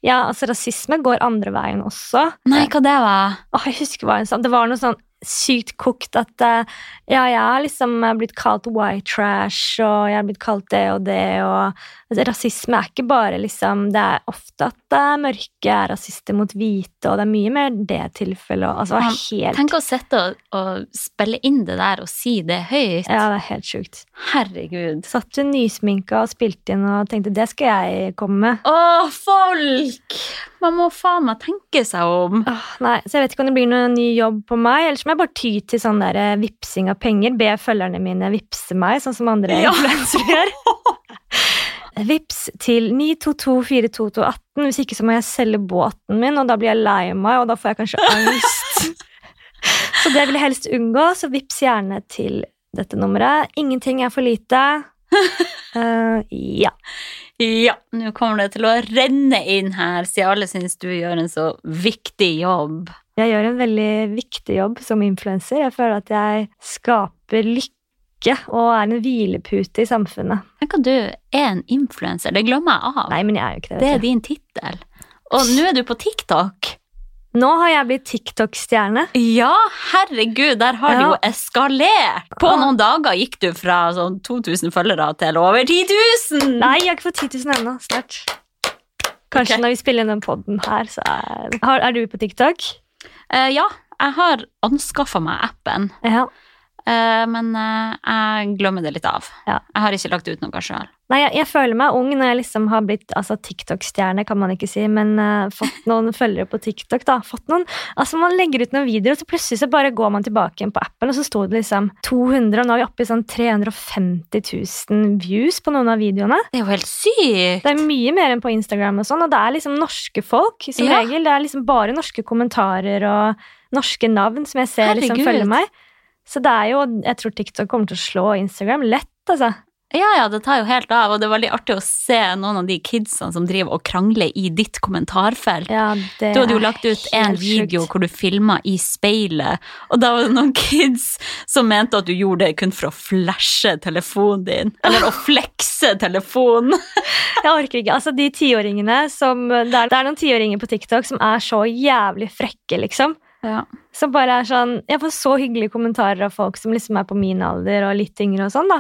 S1: Ja, altså, rasisme går andre veien også.
S2: Nei, hva det var?
S1: Åh, jeg husker hva hun sa. Det var noe sånn sykt kokt at eh, ja, jeg har liksom eh, blitt kalt white trash, og jeg har blitt kalt det og det, og altså, rasisme er ikke bare liksom Det er ofte at eh, mørke er rasister mot hvite, og det er mye mer det tilfellet. og- Altså, det var helt
S2: Tenk å sitte og, og spille inn det der og si det høyt.
S1: ja, det er helt sjukt.
S2: Herregud.
S1: Satt hun nysminka og spilte inn og tenkte det skal jeg komme med.
S2: Å, folk! Man må faen meg tenke seg om.
S1: Åh, nei, så jeg vet ikke om det blir noen ny jobb på meg, eller så må jeg bare ty til sånn der eh, vipsing av penger. Be følgerne mine vipse meg, sånn som andre
S2: Ja. [laughs]
S1: influensere gjør. Vips til 9224218, hvis ikke så må jeg selge båten min, og da blir jeg lei meg, og da får jeg kanskje
S2: [laughs]
S1: angst. så det vil jeg helst unngå, så vips gjerne til dette nummeret. Ingenting er for lite.
S2: [laughs]
S1: Eh, ja.
S2: Ja, nå kommer det til å renne inn her, siden alle syns du gjør en så viktig jobb.
S1: Jeg gjør en veldig viktig jobb som influenser. Jeg føler at jeg skaper lykke og er en hvilepute i samfunnet.
S2: Tenk at du er en influenser. Det glemmer jeg av.
S1: Nei, men jeg er jo ikke det.
S2: det er
S1: Vet du.
S2: din tittel. Og nå er du på TikTok.
S1: Nå har jeg blitt TikTok-stjerne.
S2: Ja, herregud, der har det
S1: Ja.
S2: jo eskalert. På
S1: Ja.
S2: noen dager gikk du fra sånn 2000 følgere til over 10 000.
S1: Nei, jeg har ikke fått 10 000 ennå. Snart. Kanskje
S2: Ok.
S1: når vi spiller inn den poden her, så er har, Er du på TikTok?
S2: Eh, ja, jeg har anskaffa meg appen,
S1: Ja.
S2: eh, men eh, jeg glemmer det litt av.
S1: Ja.
S2: Jeg har ikke lagt ut noe sjøl.
S1: Nei, jeg, jeg føler meg ung når jeg liksom har blitt altså TikTok-stjerne, kan man ikke si, men eh, fått noen [laughs] følgere på TikTok, da. Fått noen, altså Man legger ut noen videoer, og så plutselig så bare går man tilbake igjen på appen, og så sto det liksom 200, og nå er vi oppe i sånn 350 000 views på noen av videoene.
S2: Det er jo helt sykt!
S1: Det er mye mer enn på Instagram og sånn, og det er liksom norske folk som
S2: Ja.
S1: regel. Det er liksom bare norske kommentarer og norske navn som jeg ser liksom
S2: Herregud.
S1: følger meg. Så det er jo Jeg tror TikTok kommer til å slå Instagram lett, altså.
S2: Ja, ja, det tar jo helt av, og det er veldig artig å se noen av de kidsene som driver og krangler i ditt kommentarfelt.
S1: Ja, det
S2: Du hadde jo
S1: er
S2: lagt ut en
S1: helt
S2: video
S1: sjukt.
S2: hvor du filma i speilet, og da var det noen kids som mente at du gjorde det kun for å flashe telefonen din, eller å flekse telefonen.
S1: [laughs] Jeg orker ikke. Altså, de tiåringene som det er, det er noen tiåringer på TikTok som er så jævlig frekke, liksom.
S2: Ja.
S1: Som bare er sånn Jeg får så hyggelige kommentarer av folk som liksom er på min alder og litt yngre og sånn, da.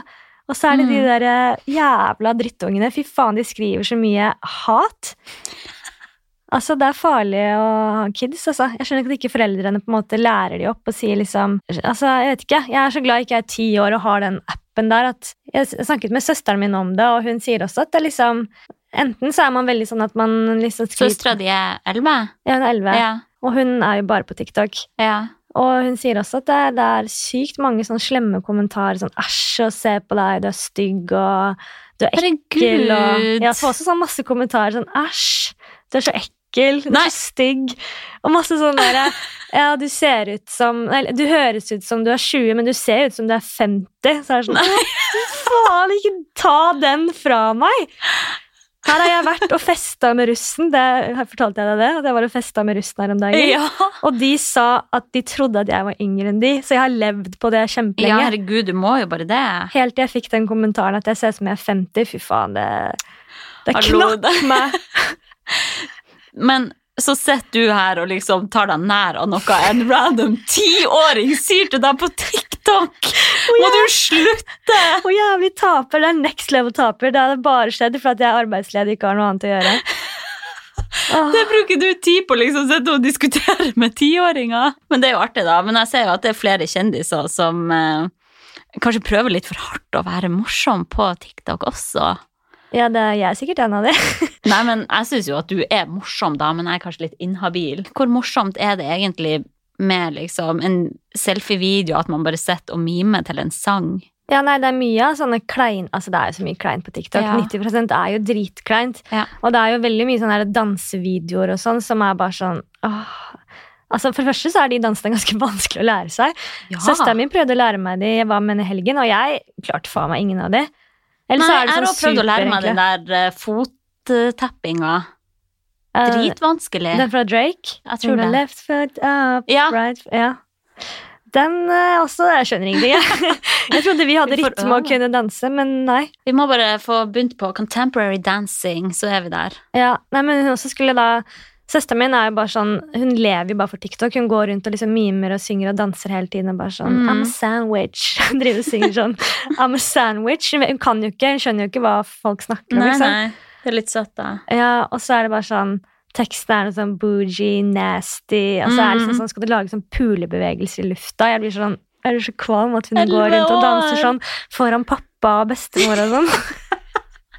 S1: Og så er det de
S2: Mm.
S1: der eh, jævla drittungene. Fy faen, de skriver så mye hat. Altså, Det er farlig å ha kids. altså. Jeg skjønner ikke at ikke foreldrene på en måte lærer de opp og sier liksom altså, Jeg vet ikke, jeg er så glad ikke jeg er ti år og har den appen der. at Jeg s- snakket med søsteren min om det, og hun sier også at det er liksom Enten så er man veldig sånn at man liksom skriver
S2: Søstera di er elleve?
S1: Ja, hun er 11,
S2: Ja.
S1: og hun er jo bare på TikTok.
S2: ja.
S1: Og hun sier også at det, det er sykt mange sånne slemme kommentarer. Sånn 'æsj, og se på deg, du er stygg', og 'du er ekkel'. Og,
S2: Herregud!
S1: jeg får også sånn masse kommentarer sånn 'æsj, du er så ekkel, du
S2: Nei.
S1: er så stygg. Og masse sånn derre Ja, du ser ut som Eller du høres ut som du er 20, men du ser ut som du er 50. Så er det sånn Nei, faen, ikke ta den fra meg! Her har jeg vært og festa med russen. Det, her fortalte jeg deg det? At jeg var og festa med russen her om dagen.
S2: Ja.
S1: Og de sa at de trodde at jeg var yngre enn de, så jeg har levd på det
S2: ja,
S1: kjempelenge.
S2: herregud, du må jo bare det.
S1: Helt til jeg fikk den kommentaren at jeg ser ut som jeg er 50. Fy faen, det, det
S2: Hallo,
S1: knakk
S2: [laughs]
S1: meg.
S2: Men så sitter du her og liksom tar deg nær av noe en random tiåring sier til deg på TikTok! Må du slutte?
S1: Hvor jævlig taper. Det er next level taper. Det hadde bare skjedd for at jeg er arbeidsledig og ikke har noe annet å
S2: [laughs]
S1: gjøre. Åh,
S2: Det bruker du tid på liksom, sitte og diskutere med tiåringer. Men det er jo artig, da. Men jeg ser jo at det er flere kjendiser som eh, kanskje prøver litt for hardt å være morsom på TikTok også.
S1: ja, det er jeg er sikkert en av de.
S2: Nei, men jeg syns jo at du er morsom, da, men jeg er kanskje litt inhabil. Hvor morsomt er det egentlig med liksom en selfie-video at man bare sitter og mimer til en sang?
S1: Ja, nei, det er mye av sånne klein... Altså, det er jo så mye kleint på TikTok.
S2: Ja.
S1: 90 er jo dritkleint.
S2: Ja.
S1: Og det er jo veldig mye sånne her dansevideoer og sånn som er bare sånn åh. Altså, For det første så er de dansene ganske [laughs] vanskelig å lære seg.
S2: Ja.
S1: Søsteren min prøvde å lære meg de jeg var med henne i helgen, og jeg klarte faen meg ingen av de. Eller
S2: Nei,
S1: så er
S2: jeg
S1: det
S2: har
S1: sånn
S2: også prøvd å lære meg den
S1: superenkle.
S2: der eh, fotteppinga.
S1: Eh,
S2: Dritvanskelig.
S1: Den fra Drake.
S2: Jeg tror det.
S1: Left foot up,
S2: Ja.
S1: right foot- Ja. Den eh, også Jeg skjønner ingenting, jeg. [laughs] jeg trodde vi hadde
S2: Vi får
S1: rytme og
S2: øve.
S1: kunne danse, men nei.
S2: Vi må bare få begynt på contemporary dancing, så er vi der.
S1: Ja, nei, men hun også skulle da Søsteren min er jo bare sånn, hun lever jo bare for TikTok. Hun går rundt og liksom mimer og synger og danser hele tiden. og bare sånn,
S2: Mm.
S1: I'm a sandwich. [laughs] Hun driver og synger sånn. I'm a sandwich. Hun kan jo ikke, hun skjønner jo ikke hva folk snakker om.
S2: Nei,
S1: liksom.
S2: nei. Det er litt søtt, da.
S1: Ja, og så er det bare sånn Teksten er noe sånn bougie, nasty Og så er det liksom
S2: Mm.
S1: sånn, skal du lage sånn pulebevegelser i lufta? Jeg blir sånn, jeg blir så kvalm at hun går
S2: Elleve
S1: rundt og danser
S2: år.
S1: sånn foran pappa og bestemor og sånn.
S2: [laughs]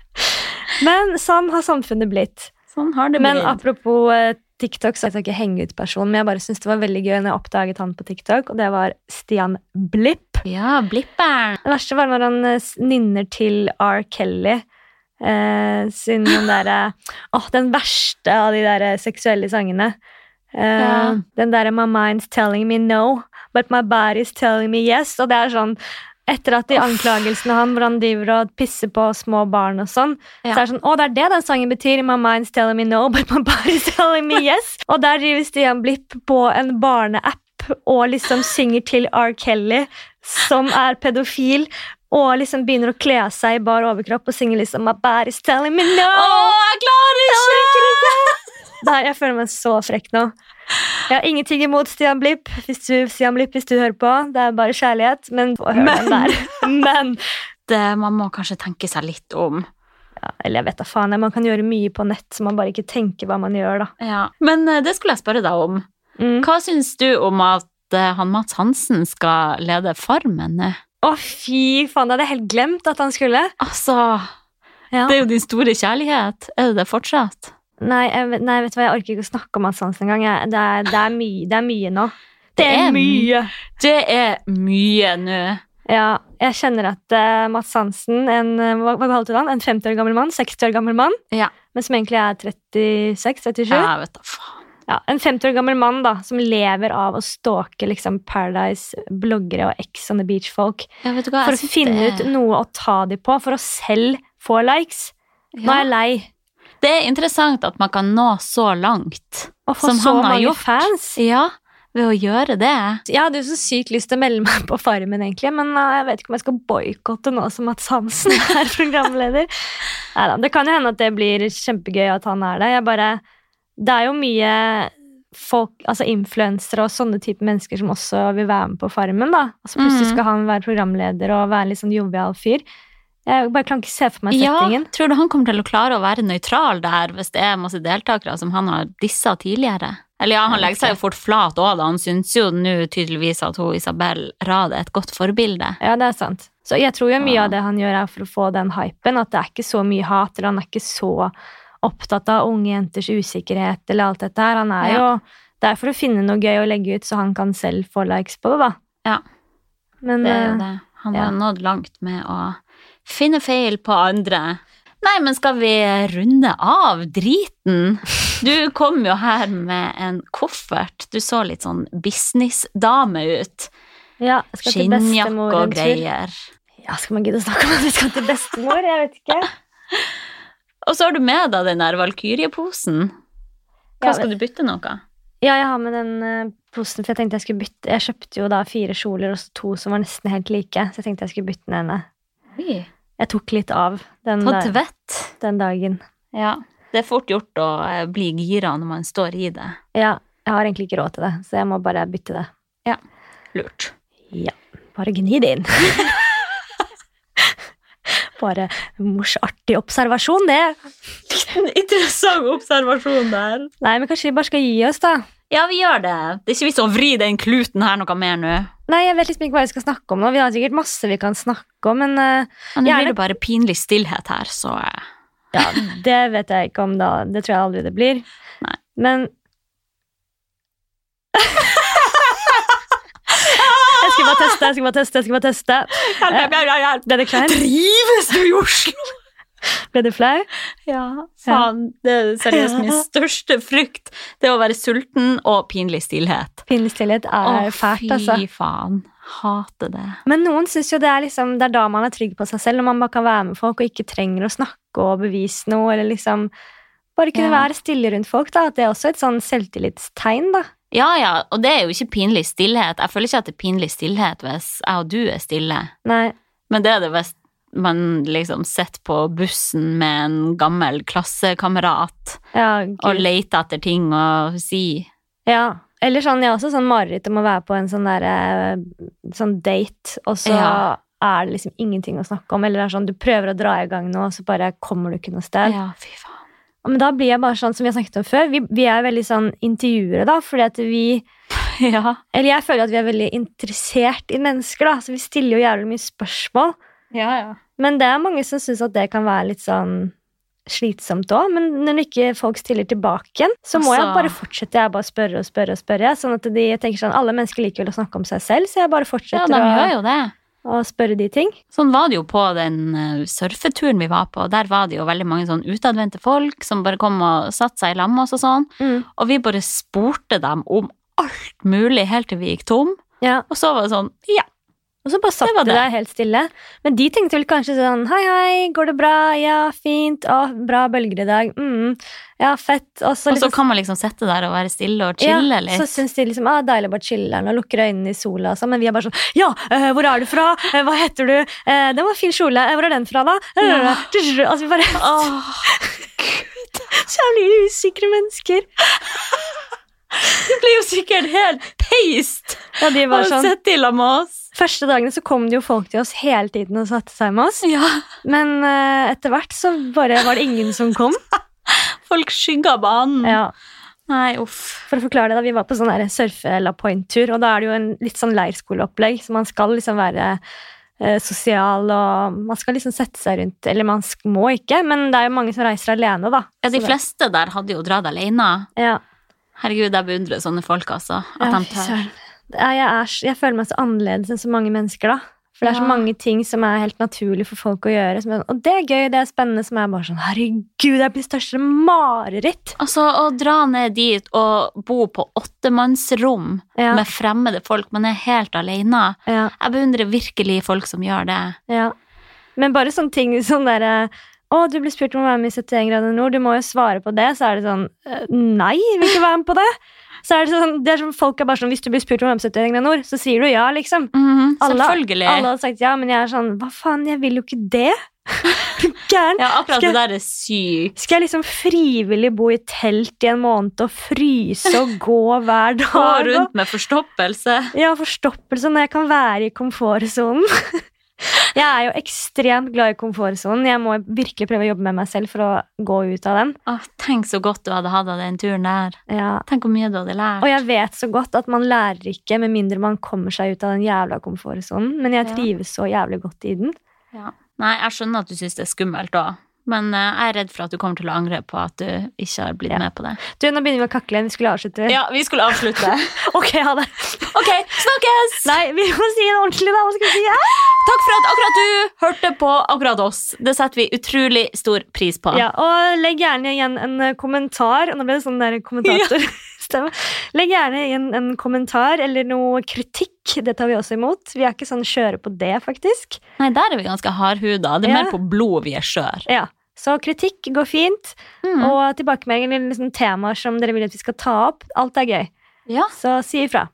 S1: Men sånn har samfunnet blitt.
S2: Sånn har det
S1: Men
S2: blitt.
S1: apropos eh, TikTok, så er jeg ikke henge ut personen, men jeg bare synes det var veldig gøy når jeg oppdaget han på TikTok, og det var Stian Blipp.
S2: Ja, blipperen.
S1: Det verste var når han eh, s- nynner til R. Kelly. Eh, sin den derre Åh, den verste av de der eh, seksuelle sangene. Eh,
S2: Ja.
S1: Den derre 'My mind's telling me no, but my body's telling me yes'. Og det er sånn etter at de anklagelsene han hvor han driver og pisser på små barn og sånn,
S2: Ja.
S1: så er det sånn Å, det er det den sangen betyr. My mind's telling me no, [laughs] but my body's telling me yes. Og der driver Stian Blipp på en barneapp og liksom synger til R. Kelly, som er pedofil, og liksom begynner å kle av seg i bar overkropp og synge liksom My body's telling me no.
S2: Å, jeg klarer ikke!
S1: Der, jeg føler meg så frekk nå. Jeg har ingenting imot Stian Blipp hvis du, Stian Blipp, hvis du hører på. Det er bare kjærlighet. Men hør
S2: Men.
S1: den der. Men
S2: Det, man må kanskje tenke seg litt om.
S1: ja, Eller jeg vet da faen. jeg. Man kan gjøre mye på nett så man bare ikke tenker hva man gjør, da.
S2: Ja. Men eh, det skulle jeg spørre deg om.
S1: Mm.
S2: Hva syns du om at eh, han Mats Hansen skal lede Farmen nå?
S1: Å, fy faen, det hadde jeg helt glemt at han skulle.
S2: Altså,
S1: Ja.
S2: det er jo din store kjærlighet. Er det det fortsatt?
S1: Nei, jeg, vet- nei, vet du hva, jeg orker ikke å snakke om Mads Hansen engang. jeg. Det, er- det, er mye- det er mye nå.
S2: Det er Det er mye nå.
S1: Ja, jeg kjenner at uh, Mads Hansen, en, eh, hva, hva kalte du han? En 50 år gammel mann? 60 år gammel mann?
S2: Ja.
S1: Men som egentlig er 36-37?
S2: Ja,
S1: Ja.
S2: jeg vet da faen.
S1: En 50 år gammel mann da, som lever av å stalke liksom, Paradise-bloggere og Ex on the Beach-folk
S2: Ja, vet du hva?
S1: for å finne ut noe å ta dem på, for å selv få likes. Nå er jeg lei.
S2: Det er interessant at man kan nå så langt.
S1: Å få
S2: Som
S1: så
S2: han har
S1: mange
S2: gjort.
S1: fans.
S2: Ja, ved å gjøre det.
S1: Jeg hadde jo så sykt lyst til å melde meg på Farmen, egentlig, men eh, jeg vet ikke om jeg skal boikotte nå som Mads Hansen er programleder. Neida, det kan jo hende at det blir kjempegøy at han er det. Jeg bare, det er jo mye folk, altså influensere og sånne type mennesker som også vil være med på Farmen. da. Altså Plutselig
S2: Mhm.
S1: skal han være programleder og være en litt sånn jovial fyr. Jeg bare kan ikke se for meg
S2: Ja,
S1: settingen.
S2: tror du han kommer til å klare å være nøytral der hvis det er masse deltakere som han har dissa tidligere? Eller ja,
S1: Jeg
S2: han
S1: vet
S2: legger
S1: ikke.
S2: seg jo fort flat òg, da. Han syns jo nå tydeligvis at hun Isabel Rad er et godt forbilde.
S1: Ja, det er sant. Så jeg tror jo mye
S2: Ja.
S1: av det han gjør er for å få den hypen, at det er ikke så mye hat, eller han er ikke så opptatt av unge jenters usikkerhet eller alt dette her. Han er
S2: Ja.
S1: jo Det er for å finne noe gøy å legge ut, så han kan selv få likes på det, da.
S2: Ja.
S1: Men
S2: Det er jo
S1: eh,
S2: det. Han
S1: ja.
S2: har nådd langt med å finne feil på andre. Nei, men skal vi runde av driten? Du kom jo her med en koffert. Du så litt sånn businessdame ut.
S1: Ja, jeg skal til
S2: Skinnjakke
S1: bestemor en
S2: og
S1: tur.
S2: greier.
S1: Ja, skal man gidde å snakke om at vi skal til bestemor? Jeg vet
S2: [laughs]
S1: ikke.
S2: Og så har du med deg den der valkyrjeposen.
S1: Ja,
S2: Hva skal du bytte noe?
S1: Ja, jeg har med den eh, posen, for jeg tenkte jeg skulle bytte. Jeg kjøpte jo da fire kjoler og så to som var nesten helt like, så jeg tenkte jeg skulle bytte den ene.
S2: Oi,
S1: Jeg tok litt av den,
S2: Tatt
S1: da-
S2: vett.
S1: den dagen.
S2: Ja. Det er fort gjort å eh, bli gira når man står i det.
S1: Ja, jeg har egentlig ikke råd til det, så jeg må bare bytte det.
S2: Lurt.
S1: [laughs] Ja, bare gni det
S2: [laughs]
S1: inn. bare mors artig observasjon, det.
S2: Interessant observasjon der.
S1: Nei, men kanskje vi bare skal gi oss, da.
S2: Ja, vi gjør det. Det er ikke vits å vri den kluten her noe mer nå.
S1: Nei, jeg vet liksom ikke hva vi skal snakke om nå. Vi har sikkert masse vi kan snakke om, men eh,
S2: Og nå
S1: Gjerne.
S2: blir det bare pinlig stillhet her, så eh, [clears throat]
S1: Ja, det vet jeg ikke om da. Det tror jeg aldri det blir.
S2: Nei. [laughs]
S1: Men Jeg skal bare teste, jeg skal bare teste. jeg skal bare teste.
S2: Hjelp, hjelp, hjelp, hjelp!
S1: Ble det kleint?
S2: Trives eh. du i Oslo?
S1: Ble du flau?
S2: Ja, faen. Det er seriøst min
S1: Ja.
S2: største frykt. Det er å være sulten og pinlig stillhet.
S1: Pinlig stillhet er fælt, altså.
S2: fy faen. Hater det.
S1: Men noen syns jo det er liksom, det er da man er trygg på seg selv, når man bare kan være med folk og ikke trenger å snakke og bevise noe, eller liksom Bare kunne
S2: Ja.
S1: være stille rundt folk, da. At det er også et sånn selvtillitstegn, da.
S2: Ja, ja, og det er jo ikke pinlig stillhet. Jeg føler ikke at det er pinlig stillhet hvis jeg og du er stille.
S1: Nei.
S2: Men det er det hvis man liksom sitter på bussen med en gammel klassekamerat
S1: Ja,
S2: og
S1: gud.
S2: leter etter ting å si.
S1: Ja. Eller sånn, jeg har også sånn mareritt om å være på en sånn der eh, sånn date, og så
S2: Ja.
S1: er det liksom ingenting å snakke om. Eller det er sånn, du prøver å dra i gang nå, og så bare kommer du ikke noe sted.
S2: Ja, fy faen.
S1: Men da blir jeg bare sånn som vi har snakket om før, vi, vi er veldig sånn intervjuere, da, fordi at vi
S2: [laughs] Ja.
S1: Eller jeg føler at vi er veldig interessert i mennesker, da, så vi stiller jo jævlig mye spørsmål.
S2: Ja, ja.
S1: Men det er mange som syns at det kan være litt sånn slitsomt òg. Men når ikke folk stiller tilbake igjen, så må jeg
S2: Altså-
S1: bare fortsette. Jeg bare spørre og spørre og spørre. jeg, Sånn at de jeg tenker sånn, Alle mennesker liker vel å snakke om seg selv, så jeg bare
S2: Ja,
S1: fortsetter
S2: de gjør
S1: å,
S2: jo det.
S1: å spørre de ting.
S2: Sånn var det jo på den eh, surfeturen vi var på. Der var det jo veldig mange sånn utadvendte folk som bare kom og satte seg i lag med oss og sånn.
S1: Mm.
S2: Og vi bare spurte dem om alt mulig helt til vi gikk tom.
S1: Ja.
S2: Og så var det sånn, ja.
S1: Og så bare satt
S2: var
S1: de
S2: det.
S1: der helt stille. Men de tenkte vel kanskje sånn Hei, hei, går det bra? Ja, fint. Å, bra bølger i dag. Mm. Ja, fett. Og så
S2: Og så
S1: liksom
S2: kan man liksom sitte der og være stille og chille
S1: Ja, så
S2: litt.
S1: syns de liksom, ah, deilig å bare chiller'n og lukker øynene i sola. og sånn, Men vi er bare sånn Ja, eh, hvor er du fra? Eh, hva heter du? Eh, den var fin kjole. Eh, hvor er den fra, da? Eh, [laughs]
S2: Ja.
S1: Altså, vi bare [laughs]
S2: Åh, [laughs]
S1: Så jævlig usikre mennesker.
S2: det blir jo sikkert helt peist
S1: Ja, de
S2: å
S1: var sånn.
S2: sitte i lag med oss.
S1: Første dagene så kom det jo folk til oss hele tiden og satte seg med oss.
S2: Ja,
S1: Men eh, etter hvert så bare var det ingen som kom.
S2: [laughs] folk skygger banen.
S1: Ja,
S2: Nei, uff.
S1: for å forklare det da, Vi var på sånn der surfe la point-tur, og da er det jo en litt sånn leirskoleopplegg. Så man skal liksom være eh, sosial, og man skal liksom sette seg rundt Eller man sk- må ikke, men det er jo mange som reiser alene, da.
S2: Ja, de
S1: Så det-
S2: fleste der hadde jo dratt alene.
S1: Ja.
S2: Herregud, jeg beundrer sånne folk, altså. At
S1: Ja,
S2: de
S1: fy
S2: tør.
S1: søren. Det er- Jeg, er, så- jeg føler meg så annerledes enn så mange mennesker, da. For det er så
S2: Ja.
S1: mange ting som er helt naturlig for folk å gjøre. Som er, sånn, og det er gøy, det er spennende, som er bare sånn Herregud, jeg blir største mareritt!
S2: Altså, å dra ned dit og bo på åttemannsrom
S1: Ja,
S2: med fremmede folk, man er helt alene.
S1: ja,
S2: Jeg beundrer virkelig folk som gjør det.
S1: ja. Men bare sånne ting som derre Å, du ble spurt om å være med i 71 grader nord, du må jo svare på det. Så er det sånn «Eh, Nei, jeg vil ikke være med på det! Så er det sånn, det er sånn Folk er bare sånn Hvis du blir spurt om å være med i 71 grader nord, så sier du ja, liksom.
S2: Mhm,
S1: Alle-
S2: Selvfølgelig.
S1: Alle hadde sagt ja, men jeg er sånn Hva faen, jeg vil jo ikke det! [laughs] Er du Gæren!
S2: Ja,
S1: Skal-
S2: akkurat det der er sykt.
S1: Skal jeg liksom frivillig bo i telt i en måned og fryse og gå hver dag?
S2: Gå
S1: og-
S2: rundt med forstoppelse.
S1: Ja, forstoppelse når jeg kan være i komfortsonen. [laughs] Jeg er jo ekstremt glad i komfortsonen. Jeg må virkelig prøve å jobbe med meg selv for å gå ut av den.
S2: Åh, tenk så godt du hadde hatt av den turen der.
S1: Ja.
S2: Tenk hvor mye du hadde lært.
S1: Og jeg vet så godt at man lærer ikke med mindre man kommer seg ut av den jævla komfortsonen. Men jeg
S2: Ja.
S1: trives så jævlig godt i den.
S2: Nei, jeg skjønner at du syns det er skummelt òg, men eh, jeg er redd for at du kommer til å angre på at du ikke har blitt
S1: Ja.
S2: med på det.
S1: Du, nå begynner vi å kakle igjen. Vi skulle avslutte.
S2: Ja, vi skulle [laughs] avslutte.
S1: Ok, ha det.
S2: Ok, snakkes!
S1: Nei, vi må si det ordentlig, da. Hva skal vi si?
S2: Takk for at akkurat du hørte hørte på akkurat oss. Det setter vi utrolig stor pris på.
S1: Ja, og legg gjerne igjen en eh, kommentar. Nå ble det sånn der
S2: [laughs]
S1: [laughs] kommentatorstemme. Legg gjerne igjen en kommentar eller noe kritikk. Det tar vi også imot. Vi er ikke sånn skjøre på det, faktisk.
S2: Nei, der er vi ganske hardhuda. Det er
S1: Ja.
S2: mer på blod vi er skjør.
S1: Ja, Så kritikk går fint.
S2: Mm.
S1: Og tilbakemeldinger eller liksom temaer som dere vil at vi skal ta opp. Alt er gøy.
S2: Ja,
S1: Så si ifra.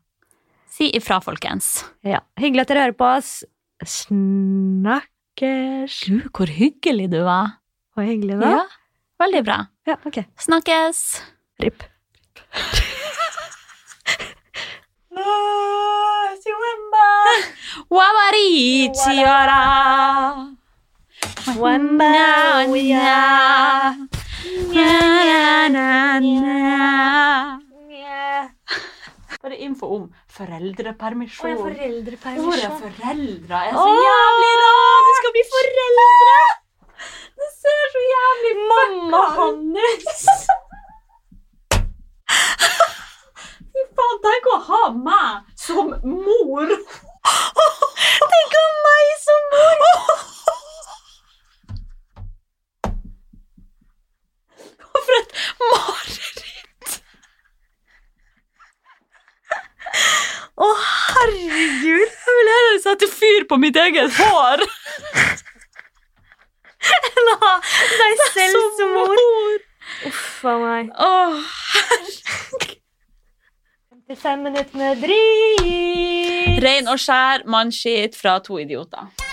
S2: si ifra, folkens.
S1: Ja. Hyggelig at dere hører på oss. Snakkes.
S2: Gud, hvor hyggelig du var.
S1: Så hyggelig, da.
S2: Ja, veldig bra.
S1: Ja, ok.
S2: Snakkes.
S1: Ripp.
S2: Wabarichi ora. Wana, wana. Na, na, na. Bare info om foreldrepermisjon. Ordet
S1: [laughs] Foreldrepermisjon.
S2: foreldre er så jævlig rart! Du skal bli foreldre! Det ser så jævlig Mamma hans! [laughs] Fy faen, tenk å ha meg som mor! [laughs] Tenk å ha meg som mor! For et mareritt! Å, herregud! Jeg vil heller sette fyr på mitt eget hår enn å ha
S1: Deg selv som mor.
S2: mor.
S1: Uff a meg.
S2: Åh,
S1: 55 minutter med drit.
S2: Rein og skjær mannskitt fra to idioter.